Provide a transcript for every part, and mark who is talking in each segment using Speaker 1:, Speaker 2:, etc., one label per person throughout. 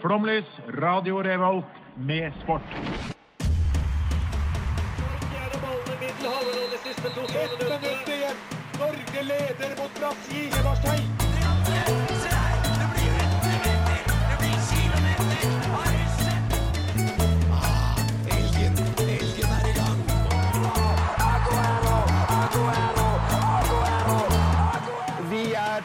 Speaker 1: Flomlys, Radio Revolt, med sport.
Speaker 2: Ett minutt igjen. Norge leder mot Brasil. Marstein.
Speaker 3: Vi er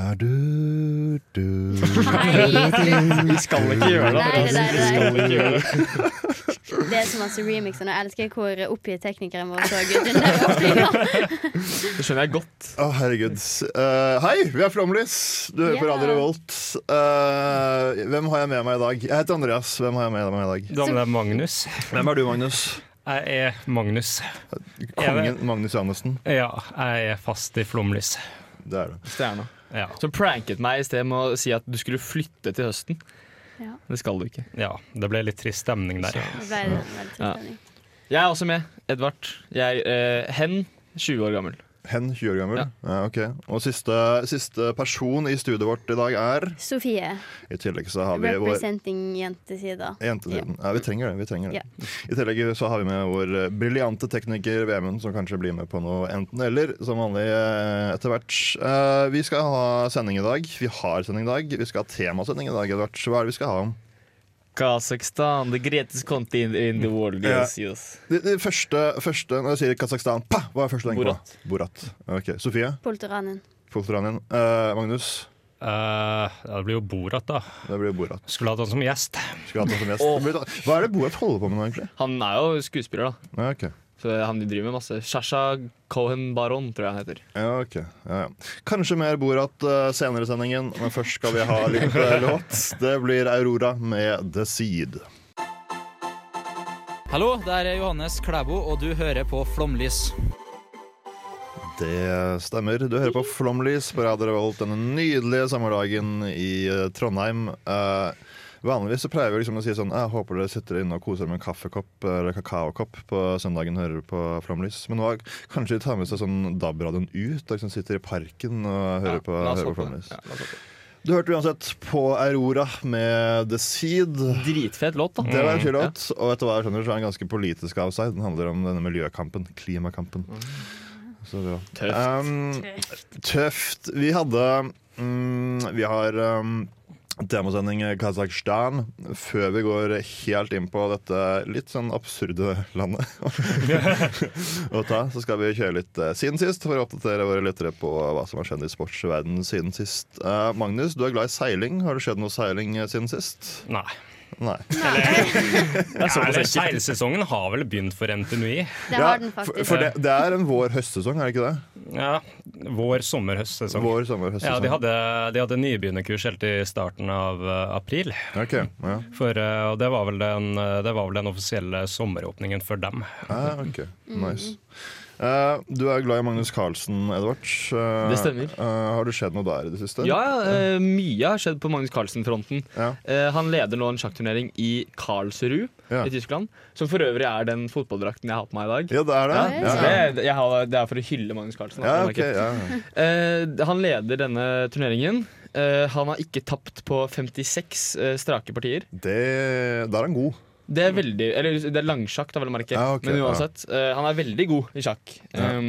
Speaker 4: Er du, du.
Speaker 5: Vi skal ikke gjøre det.
Speaker 6: Nei, det der, det der.
Speaker 5: Vi skal ikke gjøre det.
Speaker 6: Det er så masse remixer. Og jeg elsker hvor oppgitt teknikeren vår så den der oppgivningen.
Speaker 5: Det skjønner jeg godt.
Speaker 4: Å, herregud. Eh, hei, vi er Flomlys. Du hører på
Speaker 6: Ja.
Speaker 4: Radio Revolt. Eh, hvem har jeg med meg i dag? Jeg heter Andreas. Hvem har jeg med meg i dag?
Speaker 7: Du har med deg Magnus.
Speaker 4: Hvem er du, Magnus?
Speaker 7: Jeg er Magnus.
Speaker 4: Kongen Magnus Johannessen.
Speaker 7: Ja, jeg er fast i flomlys.
Speaker 4: Det er du.
Speaker 5: Stjerna.
Speaker 7: Ja.
Speaker 5: Som pranket meg i sted med å si at du skulle flytte til høsten.
Speaker 6: Ja.
Speaker 5: Det skal du ikke.
Speaker 7: ja, det ble litt trist stemning der.
Speaker 6: Det ble en veldig trist
Speaker 5: Ja.
Speaker 6: stemning.
Speaker 5: Jeg er også med. Edvard. Jeg er eh, hen, 20 år gammel.
Speaker 4: Hen, 20 år gammel.
Speaker 5: Ja.
Speaker 4: Ja, ok. Og siste, siste person i studioet vårt i dag er
Speaker 6: Sofie,
Speaker 4: I tillegg så har vi vår
Speaker 6: representing jentesida.
Speaker 4: Jentesiden. Ja. vi trenger det. vi trenger det
Speaker 6: Ja.
Speaker 4: I tillegg så har vi med vår eh, briljante tekniker Vemund, som kanskje blir med på noe enten-eller, som vanlig eh, etter hvert. Eh, Vi skal ha sending i dag. Vi har sending i dag. Vi skal ha temasending i dag, Edvard. Hva er det vi skal ha om?
Speaker 5: Kasakhstan, the greatest country in, in the world. Yes, yes.
Speaker 4: Det, det første, første Når jeg sier Kasakhstan, pa, hva er første tenk på? Borat. Ok, Sofie,
Speaker 6: Poltoranen.
Speaker 4: Poltoranen. Eh, Magnus,
Speaker 7: Eh, ja, det blir jo Borat, da.
Speaker 4: det blir Borat.
Speaker 7: Skulle hatt han som gjest.
Speaker 4: Skulle hatt noe som gjest. Det blir litt- Hva er det Borat holder på med nå, egentlig?
Speaker 5: Han er jo skuespiller, da.
Speaker 4: Ja, ok.
Speaker 5: Så han driver med masse. Shasha Cohen Baron, tror jeg han heter.
Speaker 4: Ja, ok. Ja, ja. Kanskje mer Borat eh, senere i sendingen, men først skal vi ha litt eh, låt. Det blir Aurora med The Seed.
Speaker 8: Hallo, der er Johannes Klæbo, og du hører på Flomlys.
Speaker 4: Det stemmer. Du hører på Flomlys på Radio Revolt denne nydelige sommerdagen i eh, Trondheim. Eh, vanligvis så pleier vi liksom å si sånn Jeg håper dere sitter inne og koser dere med en kaffekopp eller kakaokopp på søndagen og hører på Flomlys. Men nå er- kanskje de tar med seg sånn DAB-radioen ut og liksom sitter i parken og hører på,
Speaker 5: la oss
Speaker 4: hører på
Speaker 5: håpe det.
Speaker 4: Flomlys.
Speaker 5: Ja, la oss håpe det.
Speaker 4: Du hørte uansett på Aurora med The Seed.
Speaker 5: Dritfet låt, da.
Speaker 4: Det var en kul låt, og etter hva jeg skjønner så er den ganske politisk av seg. Den handler om denne miljøkampen, klimakampen. Så bra.
Speaker 5: Tøft.
Speaker 4: Um, tøft. Vi hadde mm, Vi har um, temasending i Kasakhstan før vi går helt inn på dette litt sånn absurde landet. å ta, så skal vi kjøre litt eh, siden sist for å oppdatere våre lyttere på hva som har skjedd i sportsverdenen siden sist. Eh, Magnus, du er glad i seiling. Har det skjedd noe seiling eh, siden sist?
Speaker 7: Nei.
Speaker 4: Nei.
Speaker 7: Ja, eller Seilsesongen har vel begynt for NTNUI.
Speaker 6: Det
Speaker 4: Ja,
Speaker 6: har den
Speaker 4: For,
Speaker 6: faktisk.
Speaker 4: for det, det er en vår-høstsesong, er det ikke det?
Speaker 7: Ja, vår sommer-høstsesong.
Speaker 4: Vår sommer-høstsesong.
Speaker 7: Ja, de hadde, de hadde nybegynnerkurs helt i starten av eh, april.
Speaker 4: Ok, ja.
Speaker 7: For, eh, og det var, vel den, eh, det var vel den offisielle sommeråpningen for dem.
Speaker 4: Ah, ok, nice. Eh, du er glad i Magnus Carlsen, Edvard. Eh,
Speaker 5: Det stemmer.
Speaker 4: eh, har det skjedd noe der i det siste?
Speaker 5: Ja, ja, eh, mye har skjedd på Magnus Carlsen-fronten.
Speaker 4: Ja.
Speaker 5: Eh, han leder nå en sjakkturnering i Karlsruhe
Speaker 4: Ja.
Speaker 5: i Tyskland. Som for øvrig er den fotballdrakten jeg har på meg i dag.
Speaker 4: Ja, det er det?
Speaker 5: Så Det, jeg har, det er for å hylle Magnus Carlsen.
Speaker 4: ja
Speaker 5: altså,
Speaker 4: ok. Ja. ja.
Speaker 5: Eh, han leder denne turneringen. Eh, han har ikke tapt på 56 eh, strake partier.
Speaker 4: Det, da er han god.
Speaker 5: Det er veldig, eller det er langsjakk, da, vel å merke.
Speaker 4: Ja, ok,
Speaker 5: men
Speaker 4: ja.
Speaker 5: uansett, eh, han er veldig god i sjakk. Um,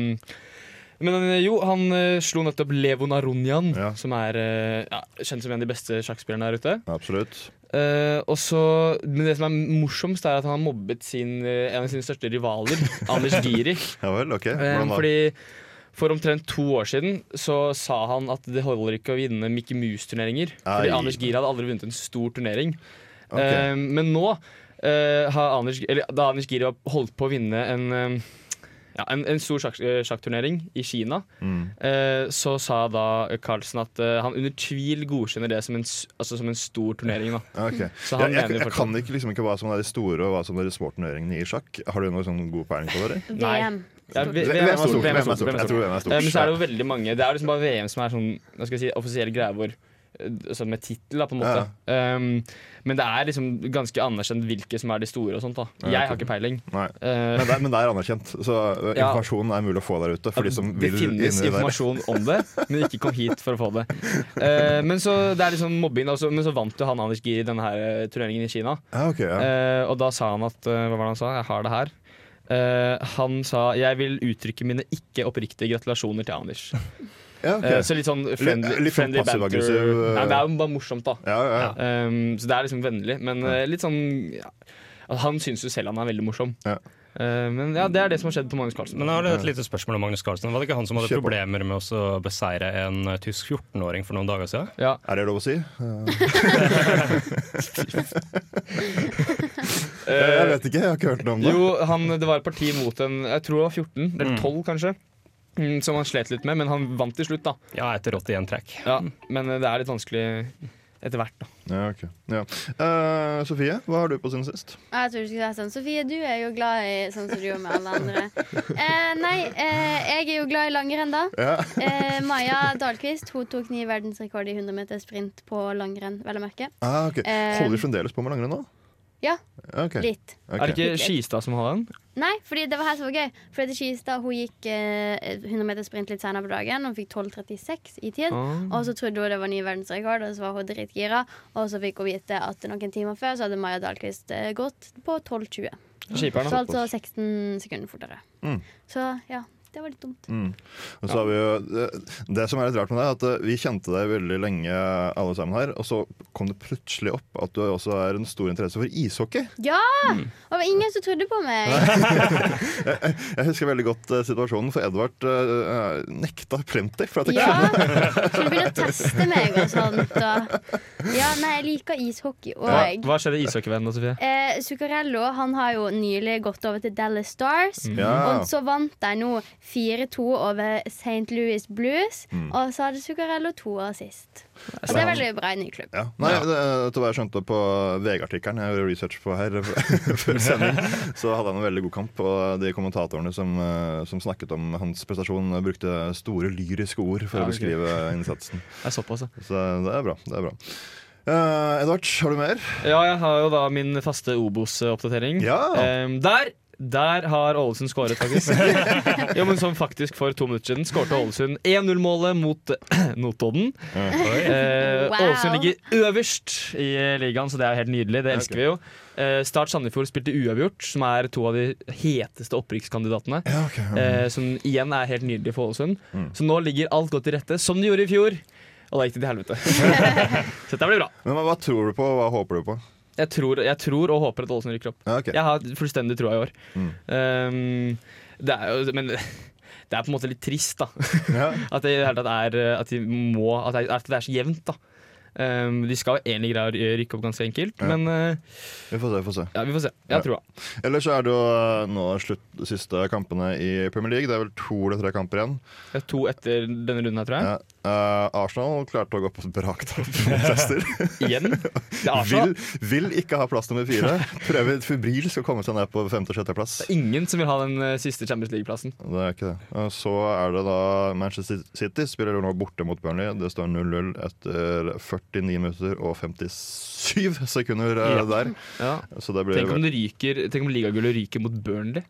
Speaker 5: men eh, jo, han eh, slo nettopp Levon Aronian,
Speaker 4: Ja.
Speaker 5: som er eh, ja, kjent som en av de beste sjakkspillerne der ute.
Speaker 4: Absolutt.
Speaker 5: Eh, og så, men det som er morsomst, er at han har mobbet sin, eh, en av sine største rivaler, Anders Giri.
Speaker 4: Ja vel, ok.
Speaker 5: Eh,
Speaker 4: Hvordan da?
Speaker 5: fordi for omtrent to år siden så sa han at det holder ikke å vinne Mickey Mouse-turneringer. Fordi
Speaker 4: Ei.
Speaker 5: Anders Giri hadde aldri vunnet en stor turnering.
Speaker 4: Ok.
Speaker 5: Eh, men nå, eh, har Anders, eller, da Anders Giri har holdt på å vinne en eh, ja, en, en stor sjakk, eh, sjakkturnering i Kina.
Speaker 4: Mm.
Speaker 5: eh, så sa da Carlsen at eh, han under tvil godkjenner det som en, s- altså som en stor turnering. Da.
Speaker 4: Ok.
Speaker 5: Så
Speaker 4: Ja,
Speaker 5: han
Speaker 4: jeg,
Speaker 5: mener
Speaker 4: jeg
Speaker 5: fortsatt-
Speaker 4: kan ikke, liksom ikke hva som er de store og hva som er de små turneringene i sjakk. Har du noe sånn god peiling på det? eller?
Speaker 5: Nei.
Speaker 6: VM.
Speaker 5: Ja,
Speaker 4: Hvem er stort? Hvem er stort? Jeg tror hvem er stort.
Speaker 5: Eh, Men så er det jo veldig mange Det er liksom bare VM som er sånn hva skal jeg si, offisiell greie hvor altså med tittel, da, på en måte. Ehm, men det er liksom ganske anerkjent hvilke som er de store og sånt. da Jeg har ikke peiling.
Speaker 4: Nei.
Speaker 5: Eh,
Speaker 4: Men det, er- men det er anerkjent, så eh,
Speaker 5: Ja.
Speaker 4: informasjonen er mulig å få der ute. For de som
Speaker 5: det
Speaker 4: vil inn i
Speaker 5: finnes
Speaker 4: det der.
Speaker 5: informasjon om det, men ikke kom hit for å få det. Eh, men så det er liksom mobbing, da, så- men så vant jo han Anders Gier i denne her eh, turneringen i Kina.
Speaker 4: Ja, ok, ja.
Speaker 5: Eh, og da sa han at eh, Hva var det han sa? Jeg har det her. Eh, han sa Jeg vil uttrykke mine ikke oppriktige gratulasjoner til Anders.
Speaker 4: ja, ok.
Speaker 5: Eh, så litt sånn friendly,
Speaker 4: Litt- litt sånn
Speaker 5: friendly banter.
Speaker 4: passiv-aggressiv, eh.
Speaker 5: Nei, det er jo bare morsomt, da.
Speaker 4: ja, ja, ja.
Speaker 5: Um, så det er liksom vennlig, men eh, litt sånn ja. Altså, Han syns jo selv han er veldig morsom.
Speaker 4: Ja.
Speaker 5: Eh, men ja, det er det som har skjedd på Magnus Carlsen.
Speaker 7: Men jeg har et lite spørsmål om Magnus Carlsen. Var det ikke han som hadde
Speaker 4: Kjør på.
Speaker 7: problemer med å så beseire en eh, tysk 14-åring for noen dager siden?
Speaker 5: ja.
Speaker 4: Er det lov å si? Eh, Jeg vet ikke, jeg har ikke hørt noe om det.
Speaker 5: Jo, han, det var et parti mot en Jeg tror det var 14, eller 12 kanskje. mm, Som han slet litt med, men han vant til slutt, da.
Speaker 7: Ja, etter 81 trekk.
Speaker 5: Ja, men eh, det er litt vanskelig etter hvert, da.
Speaker 4: Ja, ok. ja. Eh, Sofie, hva har du på siden sist?
Speaker 6: Jeg tror du skulle sagt sånn Sofie, du er jo glad i sånn som du gjorde med alle andre. Eh, nei, eh, jeg er jo glad i langrenn, da.
Speaker 4: Ja.
Speaker 6: Eh, Maja Dahlqvist hun tok ny verdensrekord i 100 meter sprint på langrenn, vel å merke.
Speaker 4: Ah, ok.
Speaker 6: Eh,
Speaker 4: Holder vi fremdeles på med langrenn nå?
Speaker 6: Ja,
Speaker 4: Ja, ok.
Speaker 6: litt.
Speaker 4: Ok.
Speaker 5: Er det ikke Skistad som har den?
Speaker 6: Nei, fordi det var her som var gøy. Fordi Skistad hun gikk eh, 100 meter sprint litt senere på dagen. Hun fikk 12,36 i tid.
Speaker 5: Ah.
Speaker 6: Og så trodde hun det var ny verdensrekord, og så var hun dritgira. Og så fikk hun vite at noen timer før så hadde Maja Dahlqvist eh, gått på 12,20.
Speaker 5: Skiperen,
Speaker 6: Så
Speaker 5: da.
Speaker 6: altså 16 sekunder fortere.
Speaker 4: Mm.
Speaker 6: Så ja, det var litt dumt.
Speaker 4: Og så har vi jo, det, det som er litt rart med det, er at eh, vi kjente deg veldig lenge, alle sammen her. Og så kom det plutselig opp at du også er en stor interesse for ishockey.
Speaker 6: Ja! Og det var ingen som trodde på meg.
Speaker 4: Jeg husker veldig godt eh, situasjonen, for Edvard eh, eh, nekta plenty. For at jeg
Speaker 6: Ja! Skulle begynne å teste meg og sånt. Og. Ja, nei, jeg liker ishockey òg.
Speaker 5: Hva, hva skjedde i ishockeyvennen da, Sofie?
Speaker 6: Eh, Zuccarello han har jo nylig gått over til Dallas Stars.
Speaker 4: Ja.
Speaker 6: Og så vant de nå 4-2 over St. Louis Blues.
Speaker 5: Mm.
Speaker 6: Og så hadde Zuccarello to år sist. Og det er veldig bra i ny klubb.
Speaker 4: Ja. Nei, det, det var jeg skjønte på VG-artikkelen jeg gjorde research på her før sending, så hadde han en veldig god kamp. Og de kommentatorene som, eh, som snakket om hans prestasjon, eh, brukte store lyriske ord for å
Speaker 5: Ja, det er gøy.
Speaker 4: beskrive innsatsen.
Speaker 5: Det er såpass, ja.
Speaker 4: Så det er bra. det er bra. Eh, Edvard, har du mer?
Speaker 5: Ja, jeg har jo da min faste Obos-oppdatering.
Speaker 4: Ja.
Speaker 5: Ehm, der! Der har Ålesund skåret, faktisk. jo, men som faktisk for to minutter siden skårte Ålesund 1-0-målet mot Notodden. Eh,
Speaker 6: Wow.
Speaker 5: Ålesund ligger øverst i ligaen, så det er jo helt nydelig. Det elsker vi jo. Eh, Start Sandefjord spilte uavgjort, som er to av de heteste opprykkskandidatene.
Speaker 4: Ja, ok.
Speaker 5: Eh, som igjen er helt nydelig for Ålesund. Så nå ligger alt godt til rette, som det gjorde i fjor. Og da gikk det til helvete. så dette blir bra.
Speaker 4: Men hva tror du på, og hva håper du på?
Speaker 5: Jeg tror, jeg tror og håper at Ålesund rykker opp.
Speaker 4: Ja, Mm. ok.
Speaker 5: Jeg har fullstendig troa i år. Um, det er jo, men det er på en måte litt trist, da.
Speaker 4: Ja.
Speaker 5: At det, i det hele tatt er, eh, at de må, at det, er- at det er så jevnt, da. Um, de skal jo egentlig greie å ry- rykke opp ganske enkelt,
Speaker 4: Ja.
Speaker 5: men uh,
Speaker 4: Vi får se. vi får se.
Speaker 5: ja, vi får se. Jeg
Speaker 4: Ja.
Speaker 5: har troa.
Speaker 4: Ellers så er det jo eh, nå slutt de siste kampene i Premier League. Det er vel to eller tre kamper igjen.
Speaker 5: Det er To etter denne runden her, tror jeg.
Speaker 4: Ja. Eh, Arsenal klarte å gå på et braktap mot Leicester.
Speaker 5: Igjen. Det er
Speaker 4: Vil,
Speaker 5: Arsenal.
Speaker 4: vil ikke ha plass nummer fire. Prøver febrilsk å komme seg ned på femte- og sjetteplass.
Speaker 5: Det er ingen som vil ha den uh, siste Champions League-plassen.
Speaker 4: Det er ikke det. Og Så er det da Manchester City spiller nå borte mot Burnley. Det står 0-0 etter 49 minutter og 57 sekunder eh,
Speaker 5: Ja.
Speaker 4: der.
Speaker 5: Ja.
Speaker 4: Så det blir
Speaker 5: Tenk om, det ryker, tenk om ligagullet ryker mot Burnley.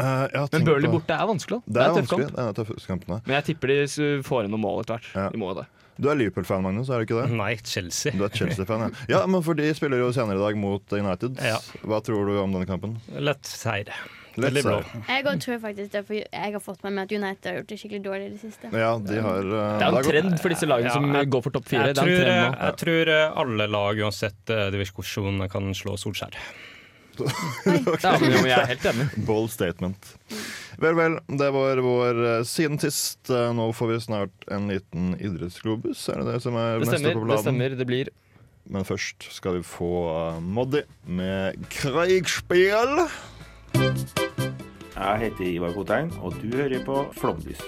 Speaker 4: Eh, ja,
Speaker 5: Men
Speaker 4: tenk
Speaker 5: Burnley
Speaker 4: på-
Speaker 5: borte er vanskelig. da.
Speaker 4: Det er
Speaker 5: en tøff
Speaker 4: vanskelig. Det
Speaker 5: kamp.
Speaker 4: er en av tøffkampene.
Speaker 5: Men jeg tipper de s- får inn noen mål etter hvert.
Speaker 4: Ja.
Speaker 5: De må jo det.
Speaker 4: Du er Liverpool-fan, Magnus, er du ikke det?
Speaker 7: Nei,
Speaker 5: Mhm.
Speaker 7: Chelsea.
Speaker 4: Du er Chelsea-fan, ja. ja. Men for de spiller jo senere i dag mot United.
Speaker 7: Ja.
Speaker 4: Hva tror du om denne kampen?
Speaker 7: Lett seier.
Speaker 4: Lett
Speaker 7: Veldig bra.
Speaker 4: seier.
Speaker 6: Jeg også tror faktisk det, for jeg har fått med meg at United har gjort det skikkelig dårlig i det siste.
Speaker 4: Ja, de har eh,
Speaker 5: Det er jo
Speaker 4: det
Speaker 5: en
Speaker 4: har gått-
Speaker 5: trend for disse lagene
Speaker 7: Ja,
Speaker 5: som
Speaker 7: jeg-
Speaker 5: går for topp fire.
Speaker 7: Jeg
Speaker 5: Det er
Speaker 7: tror,
Speaker 5: en trend nå.
Speaker 7: jeg tror eh, alle lag, uansett eh, divisjon, kan slå Solskjær.
Speaker 5: Ja, men jo, men jeg er helt enig.
Speaker 4: Bold statement. Vel, vel. Det var vår eh, siden sist. Eh, Nå får vi snart en liten idrettsglobus. Er det det som er
Speaker 5: Det
Speaker 4: neste
Speaker 5: stemmer.
Speaker 4: på
Speaker 5: Det
Speaker 4: bladen?
Speaker 5: stemmer, det blir
Speaker 4: Men først skal vi få eh, Moddi med Kreigspiel.
Speaker 9: Jeg heter Ivar Kotein, og du hører på Flomlys.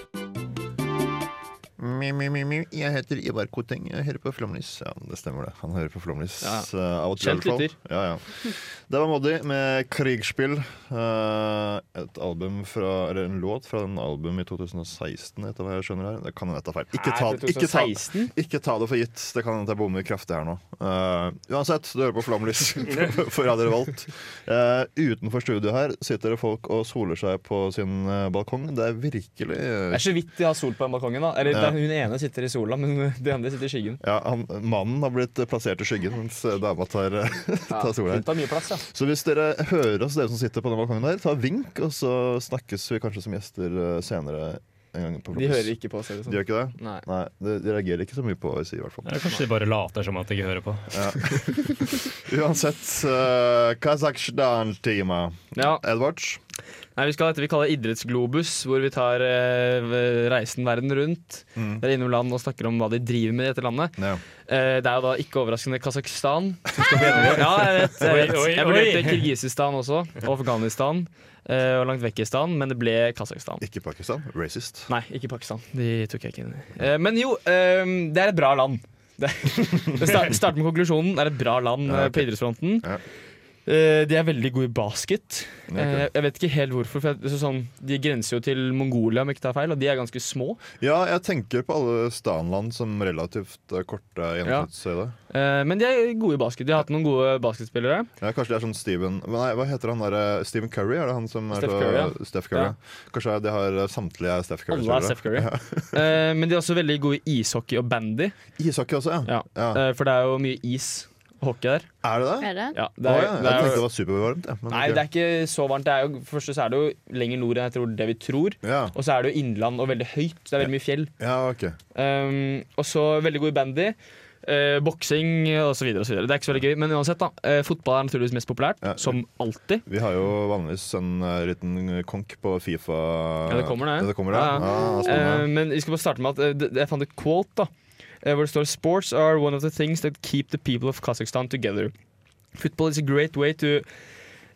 Speaker 4: mi, mi, mi, mi. Jeg heter Ivar Koteng, jeg hører på Flomlys. Ja, det stemmer det. Han hører på Flomlys
Speaker 5: Ja.
Speaker 4: eh, av og til. i
Speaker 5: Kjent
Speaker 4: hvert fall.
Speaker 5: lytter.
Speaker 4: Ja, ja. Det var Moddi med 'Krigsspill'. eh, et album fra, eller en låt fra den albumet i 2016, etter hva jeg skjønner her. Det kan hende jeg tar feil. Ikke ta,
Speaker 5: Er det
Speaker 4: ikke, ta,
Speaker 5: 2016?
Speaker 4: ikke ta det for gitt. Det kan hende jeg bommer kraftig her nå. Eh, uansett, du hører på Flomlys for Radio Revolt. Eh, utenfor studio her sitter det folk og soler seg på sin eh, balkong. Det er virkelig eh,
Speaker 5: Det er så vidt de har sol på den balkongen. da Eller
Speaker 4: Ja.
Speaker 5: det er Hun ene sitter i sola, men de andre sitter i skyggen.
Speaker 4: Ja, han, Mannen har blitt plassert i skyggen, mens dama tar, tar sola.
Speaker 5: Hun tar mye plass, ja.
Speaker 4: Så hvis dere hører oss, dere som sitter på den balkongen der, ta vink, og så snakkes vi kanskje som gjester eh, senere en gang. på
Speaker 5: De hører ikke på, ser det
Speaker 4: De
Speaker 5: ut som.
Speaker 4: gjør ikke det?
Speaker 5: Nei.
Speaker 4: Nei, de, de reagerer ikke så mye på hva vi sier, i hvert fall.
Speaker 7: Eller kanskje de bare later som at de ikke hører på.
Speaker 4: Uansett, uh, Kazakhstan-tema.
Speaker 5: Ja,
Speaker 4: Edvards?
Speaker 5: Nei, Vi skal ha dette vi kaller idrettsglobus, hvor vi tar eh, reisen verden rundt.
Speaker 4: Mm.
Speaker 5: Der innom land og snakker om hva de driver med i dette landet.
Speaker 4: Ja.
Speaker 5: Eh, det er jo da ikke overraskende Kasakhstan. som skal på gjennomgang. Ja, jeg vet. Jeg, vet.
Speaker 7: Oi, oi,
Speaker 5: jeg vurderte
Speaker 7: oi.
Speaker 5: Kirgisistan også, og Afghanistan eh, og langt vekk i stan, men det ble Kasakhstan.
Speaker 4: Ikke Pakistan. Racist.
Speaker 5: Nei, ikke Pakistan. De tok jeg ikke inn i. Eh, Men jo, eh, det er et bra land. Det det sta- Start med konklusjonen. Det er et bra land
Speaker 4: Ja,
Speaker 5: eh,
Speaker 4: ok.
Speaker 5: på idrettsfronten.
Speaker 4: Ja.
Speaker 5: Eh, De er veldig gode i basket.
Speaker 4: Ja, ok.
Speaker 5: Eh, Jeg vet ikke helt hvorfor. For jeg- så sånn, de grenser jo til Mongolia, om jeg ikke tar feil, og de er ganske små.
Speaker 4: Ja, jeg tenker på alle stanland som relativt eh, korte gjennomsnittshøyde.
Speaker 5: Eh, Men de er gode i basket. De har hatt noen gode basketspillere.
Speaker 4: Ja, kanskje det er sånn Steven men Nei, hva heter han der? eh, Stephen Curry? Er det han som er
Speaker 5: Steph
Speaker 4: så-
Speaker 5: Curry, ja.
Speaker 4: Steph Curry. Kanskje de har eh, samtlige er Steph Curry?
Speaker 5: Alle er Steph Curry. Eh, Men de er også veldig gode i ishockey og bandy,
Speaker 4: Ishockey også, ja.
Speaker 5: Ja.
Speaker 4: ja.
Speaker 5: eh, for det er jo mye is og hockey der.
Speaker 4: Er det det?
Speaker 6: Er det?
Speaker 5: Ja, det
Speaker 4: Å, ja.
Speaker 5: er, det
Speaker 4: Jeg
Speaker 5: er,
Speaker 4: tenkte det
Speaker 5: jo-
Speaker 4: var supervarmt. Ja. Men,
Speaker 5: nei, det er ikke så varmt. Det er jo, for det første så er det jo lenger nord enn jeg tror det vi tror.
Speaker 4: ja.
Speaker 5: Og så er det jo innland og veldig høyt. Det er veldig mye fjell.
Speaker 4: ja, ok.
Speaker 5: Um, og så veldig god i bandy. Uh, Boksing osv. Det er ikke så veldig gøy, men uansett, da. eh, fotball er naturligvis mest populært,
Speaker 4: Ja.
Speaker 5: som alltid.
Speaker 4: Vi har jo vanligvis en eh, liten konk på Fifa.
Speaker 5: Ja, det kommer det.
Speaker 4: Ja, det kommer det.
Speaker 5: Ja,
Speaker 4: Ja,
Speaker 5: Eh,
Speaker 4: spennende.
Speaker 5: men vi skal bare starte med at eh, det- jeg fant et quote, da. eh, hvor det står Sports are one of the things that keep the people of Kazakhstan together. Football is a great way to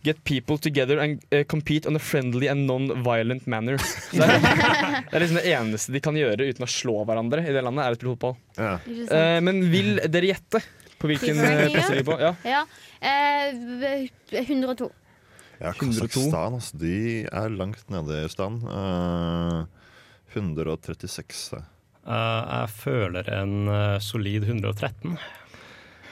Speaker 5: get people together and eh, compete on a friendly and non-violent manner. Så det, er, det er liksom det eneste de kan gjøre uten å slå hverandre i det landet, er å spille fotball.
Speaker 4: ja.
Speaker 6: Ikke sant?
Speaker 5: Eh, men vil dere gjette på hvilken
Speaker 6: Tidsregning,
Speaker 5: eh,
Speaker 6: ja.
Speaker 5: plass de ligger på? Ja.
Speaker 6: Ja. Eh, v- 102.
Speaker 4: ja
Speaker 5: 102.
Speaker 4: Kasakhstan, altså. De er langt nede i stand. Eh, 136. ja.
Speaker 7: Eh, jeg føler en eh, solid 113.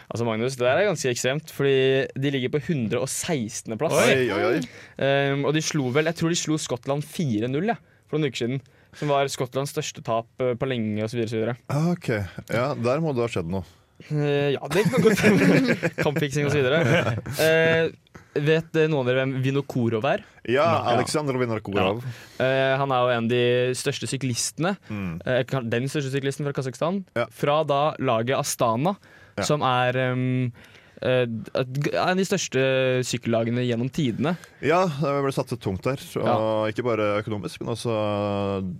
Speaker 5: Altså Magnus, Det der er ganske ekstremt, fordi de ligger på 116. plass.
Speaker 4: Oi, oi, oi.
Speaker 5: Eh, og de slo vel, jeg tror de slo Skottland 4-0 ja, for noen uker siden. Som var Skottlands største tap eh, på lenge osv.
Speaker 4: Ah, Ok. Ja, der må det ha skjedd noe.
Speaker 5: Uh, ja, det kan godt hende. Kampfiksing osv. Uh, vet eh, noen av dere hvem Vinokurov er?
Speaker 4: Ja, Aleksandr Vinarkorov.
Speaker 5: Eh, han er jo en av de største syklistene.
Speaker 4: Mm.
Speaker 5: Eh, kan- den største syklisten fra Kasakhstan.
Speaker 4: Ja.
Speaker 5: Fra da laget Astana,
Speaker 4: Ja.
Speaker 5: som er um, eh, et- en av de største sykkellagene gjennom tidene.
Speaker 4: Ja, det ble satset tungt der. Og
Speaker 5: Ja.
Speaker 4: Ikke bare økonomisk, men også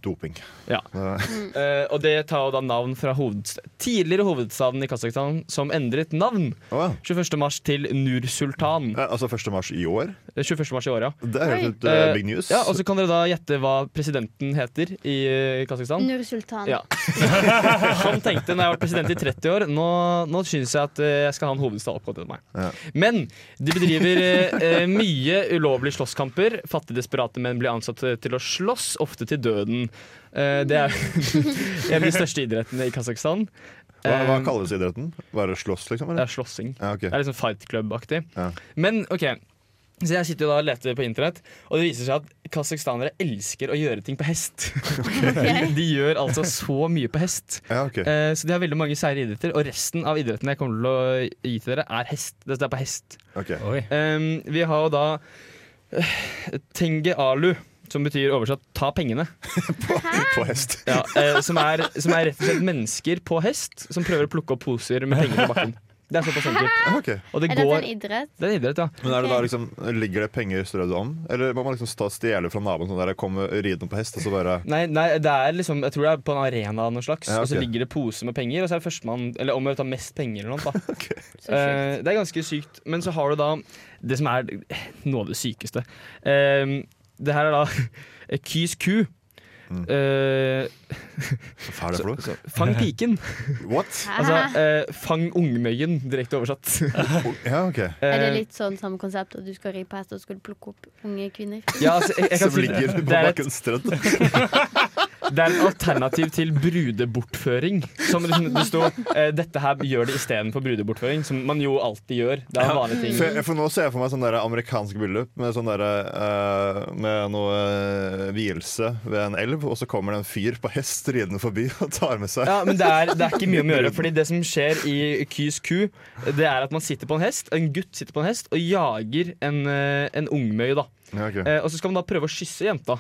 Speaker 4: doping.
Speaker 5: Ja.
Speaker 4: Det-
Speaker 5: Eh, og det tar jo da navn fra hovedst tidligere hovedstaden i Kasakhstan, som endret navn
Speaker 4: Å ja.
Speaker 5: 21. mars til Nur-Sultan.
Speaker 4: Eh, Altså 1. mars i år.
Speaker 5: 21. mars i år, ja.
Speaker 4: Det er helt
Speaker 5: Eh,
Speaker 4: eh, big news.
Speaker 5: Ja, og så kan dere da gjette hva presidenten heter i eh, Kasakhstan.
Speaker 6: Nur Sultan.
Speaker 5: Ja. Han tenkte når jeg har vært president i 30 år, nå, nå syns jeg at eh, jeg skal ha en hovedstad oppkalt etter meg.
Speaker 4: Ja.
Speaker 5: Men de bedriver eh, eh, mye ulovlige slåsskamper. Fattige, desperate menn blir ansatt eh, til å slåss, ofte til døden. Eh, det er en av de største idrettene i Kasakhstan.
Speaker 4: hva, hva
Speaker 5: Eh,
Speaker 4: kalles idretten? Bare slåss, liksom?
Speaker 5: det
Speaker 4: Eller?
Speaker 5: er slåssing.
Speaker 4: Ja, ok.
Speaker 5: Det er liksom fight club-aktig.
Speaker 4: Ja.
Speaker 5: Men ok, så jeg sitter jo da og leter på internett, og det viser seg at kasakhstanere elsker å gjøre ting på hest. de, de gjør altså så mye på hest.
Speaker 4: Ja, ok.
Speaker 5: Eh, så de har veldig mange seire idretter, og resten av idrettene jeg kommer til å gi til dere, er hest. Dette er på hest.
Speaker 4: Ok.
Speaker 7: Oi.
Speaker 5: Em, vi har jo da eh, Tenge Alu, som betyr oversatt 'ta pengene'.
Speaker 4: På hest.
Speaker 5: Ja, eh, som, er, som er rett og slett mennesker på hest som prøver å plukke opp poser med penger på bakken. Det er såpass enkelt.
Speaker 4: Ja, ok.
Speaker 5: Og det
Speaker 6: Er dette en
Speaker 5: går
Speaker 6: idrett?
Speaker 5: Det er en idrett, ja.
Speaker 4: Men er det da liksom, Ligger det penger strødd om? Eller må man liksom sta- stjele fra naboen sånn der jeg kommer ridende på hest, og så bare
Speaker 5: Nei, nei, det er liksom Jeg tror det er på en arena av noe slags.
Speaker 4: Ja, ok.
Speaker 5: Og så ligger det pose med penger, og så er det førstemann Eller om å ta mest penger eller noe. Da.
Speaker 6: Så sjukt.
Speaker 5: Eh, det er ganske sykt. Men så har du da det som Ehm, er noe av det sykeste. Eh, det her er da Kys ku.
Speaker 4: Mm.
Speaker 5: Eh, altså,
Speaker 4: Hva er det for noe?
Speaker 5: fang piken.
Speaker 4: What?
Speaker 5: Altså eh, fang ungmøyen, direkte oversatt.
Speaker 4: Ja, ok.
Speaker 6: er
Speaker 5: eh,
Speaker 6: det litt sånn samme konsept at du skal ri på hest og skal plukke opp unge kvinner?
Speaker 5: Ja, altså, jeg, jeg kan
Speaker 4: Som
Speaker 5: si,
Speaker 4: ligger på
Speaker 5: det, er et,
Speaker 4: bakken strødd.
Speaker 5: det er et alternativ til brudebortføring. Som det, det sto eh, 'dette her gjør det istedenfor brudebortføring', som man jo alltid gjør. Det er en vanlig ting.
Speaker 4: For, for nå ser jeg for meg sånn der amerikansk bryllup med, sånn der, eh, med noe eh, vielse ved en elv, og så kommer det en fyr på hest ridende forbi og tar med seg
Speaker 5: Ja, men det er, det er ikke mye om å gjøre. Fordi det som skjer i Kys ku, det er at man sitter på en hest, en gutt sitter på en hest og jager en, eh, en ungmøy. da
Speaker 4: Ja, ok.
Speaker 5: eh, Og så skal man da prøve å kysse jenta.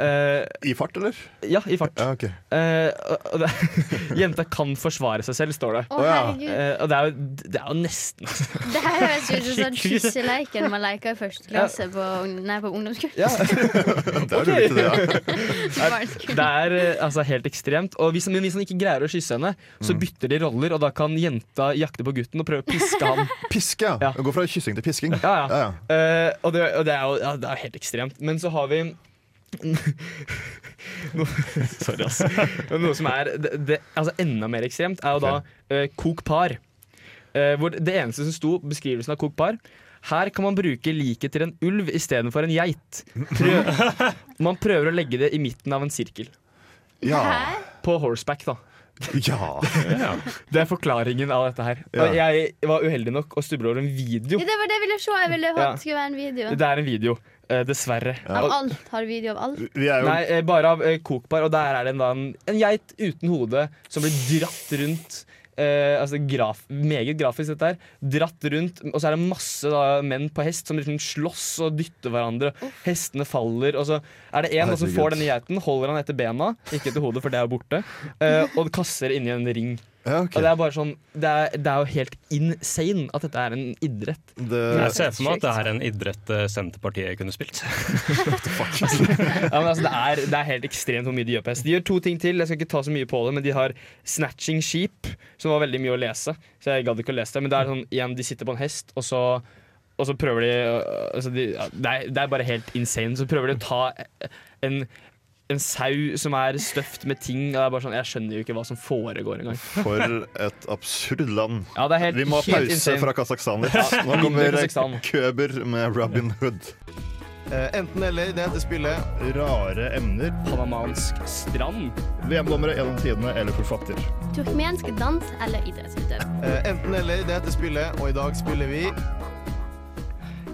Speaker 5: Eh,
Speaker 4: I fart, eller?
Speaker 5: ja, i fart.
Speaker 4: Ja, ok.
Speaker 5: Eh, og- og det, jenta kan forsvare seg selv, står det.
Speaker 6: Å,
Speaker 4: Å, ja.
Speaker 6: herregud.
Speaker 5: Eh, og det er, jo, det er jo nesten altså.
Speaker 6: Det her høres ut som sånn
Speaker 5: Skikkelig.
Speaker 6: kysseleiken man leker i første klasse på, ung- nei, på ungdomsskolen.
Speaker 5: ja,
Speaker 4: Det er rolig til det, ja.
Speaker 5: Det er eh, altså, helt ekstremt. Og hvis, men hvis han ikke greier å kysse henne, så bytter de roller, og da kan jenta jakte på gutten og prøve å piske han.
Speaker 4: Piske, ja.
Speaker 5: Ja.
Speaker 4: Å Gå fra kyssing til pisking.
Speaker 5: Ja, ja.
Speaker 4: Ja, ja.
Speaker 5: Eh, og, det, og det er jo ja, det er helt ekstremt. Men så har vi no, Sorry, ass. Men Noe som er det, det, altså enda mer ekstremt, er jo da eh, kok par. Eh, hvor det eneste som sto på beskrivelsen av kok par her kan man bruke liket til en ulv istedenfor en geit. Prøv, man prøver å legge det i midten av en sirkel.
Speaker 4: Ja.
Speaker 6: Hæ?
Speaker 5: På horseback, da.
Speaker 4: ja.
Speaker 5: Det er forklaringen av dette her.
Speaker 4: Ja.
Speaker 5: Og jeg var uheldig nok og stubla over en video.
Speaker 6: Ja, det var det jeg ville se. Jeg ville ha
Speaker 5: Ja.
Speaker 6: det skulle være en video.
Speaker 5: Det er en video, eh, dessverre.
Speaker 6: Av
Speaker 5: Og-
Speaker 6: alt. Har du video av alt?
Speaker 4: Vi er jo
Speaker 5: Nei, eh, bare av eh, kokbar, og der er det en, da, en, en geit uten hode som blir dratt rundt. eh, altså graf, Meget grafisk, dette her. Dratt rundt, og så er det masse da, menn på hest som liksom slåss og dytter hverandre. Hestene faller, og så er det en da, som
Speaker 4: Herregud.
Speaker 5: får denne geiten, holder han etter bena, ikke etter hodet, for det er jo borte, eh, og kaster inni en ring.
Speaker 4: ja, ok.
Speaker 5: Og Det er bare sånn det er, det er jo helt insane at dette er en idrett.
Speaker 4: det,
Speaker 7: Jeg ser for meg at det er en idrett eh, Senterpartiet kunne spilt.
Speaker 5: Ja, men altså, det, er, det er helt ekstremt hvor mye de gjør på hest. De gjør to ting til. Jeg skal ikke ta så mye på det, men de har snatching sheep, som var veldig mye å lese. Så jeg gadd ikke å lese det. Men det er sånn, igjen, de sitter på en hest, og så og så prøver de, øh, altså de ja, det, er, det er bare helt insane. Så prøver de å ta en, en sau som er støft med ting. Og det er bare sånn, Jeg skjønner jo ikke hva som foregår engang.
Speaker 4: For et absurd land.
Speaker 5: Ja, det er helt,
Speaker 4: Vi må ha
Speaker 5: helt
Speaker 4: pause
Speaker 5: insane.
Speaker 4: fra Kasakhstan litt. Nå
Speaker 5: mindre
Speaker 4: kommer
Speaker 5: Kasakhstan.
Speaker 4: Køber med Robin Hood.
Speaker 3: Eh, Enten eller, det heter spillet.
Speaker 4: Rare emner.
Speaker 5: Panamansk strand.
Speaker 4: VM-dommere gjennom tidene eller forfatter.
Speaker 6: Turkmensk dans eller idrettsutøvelse?
Speaker 3: Enten eller, det heter spillet, og i dag spiller vi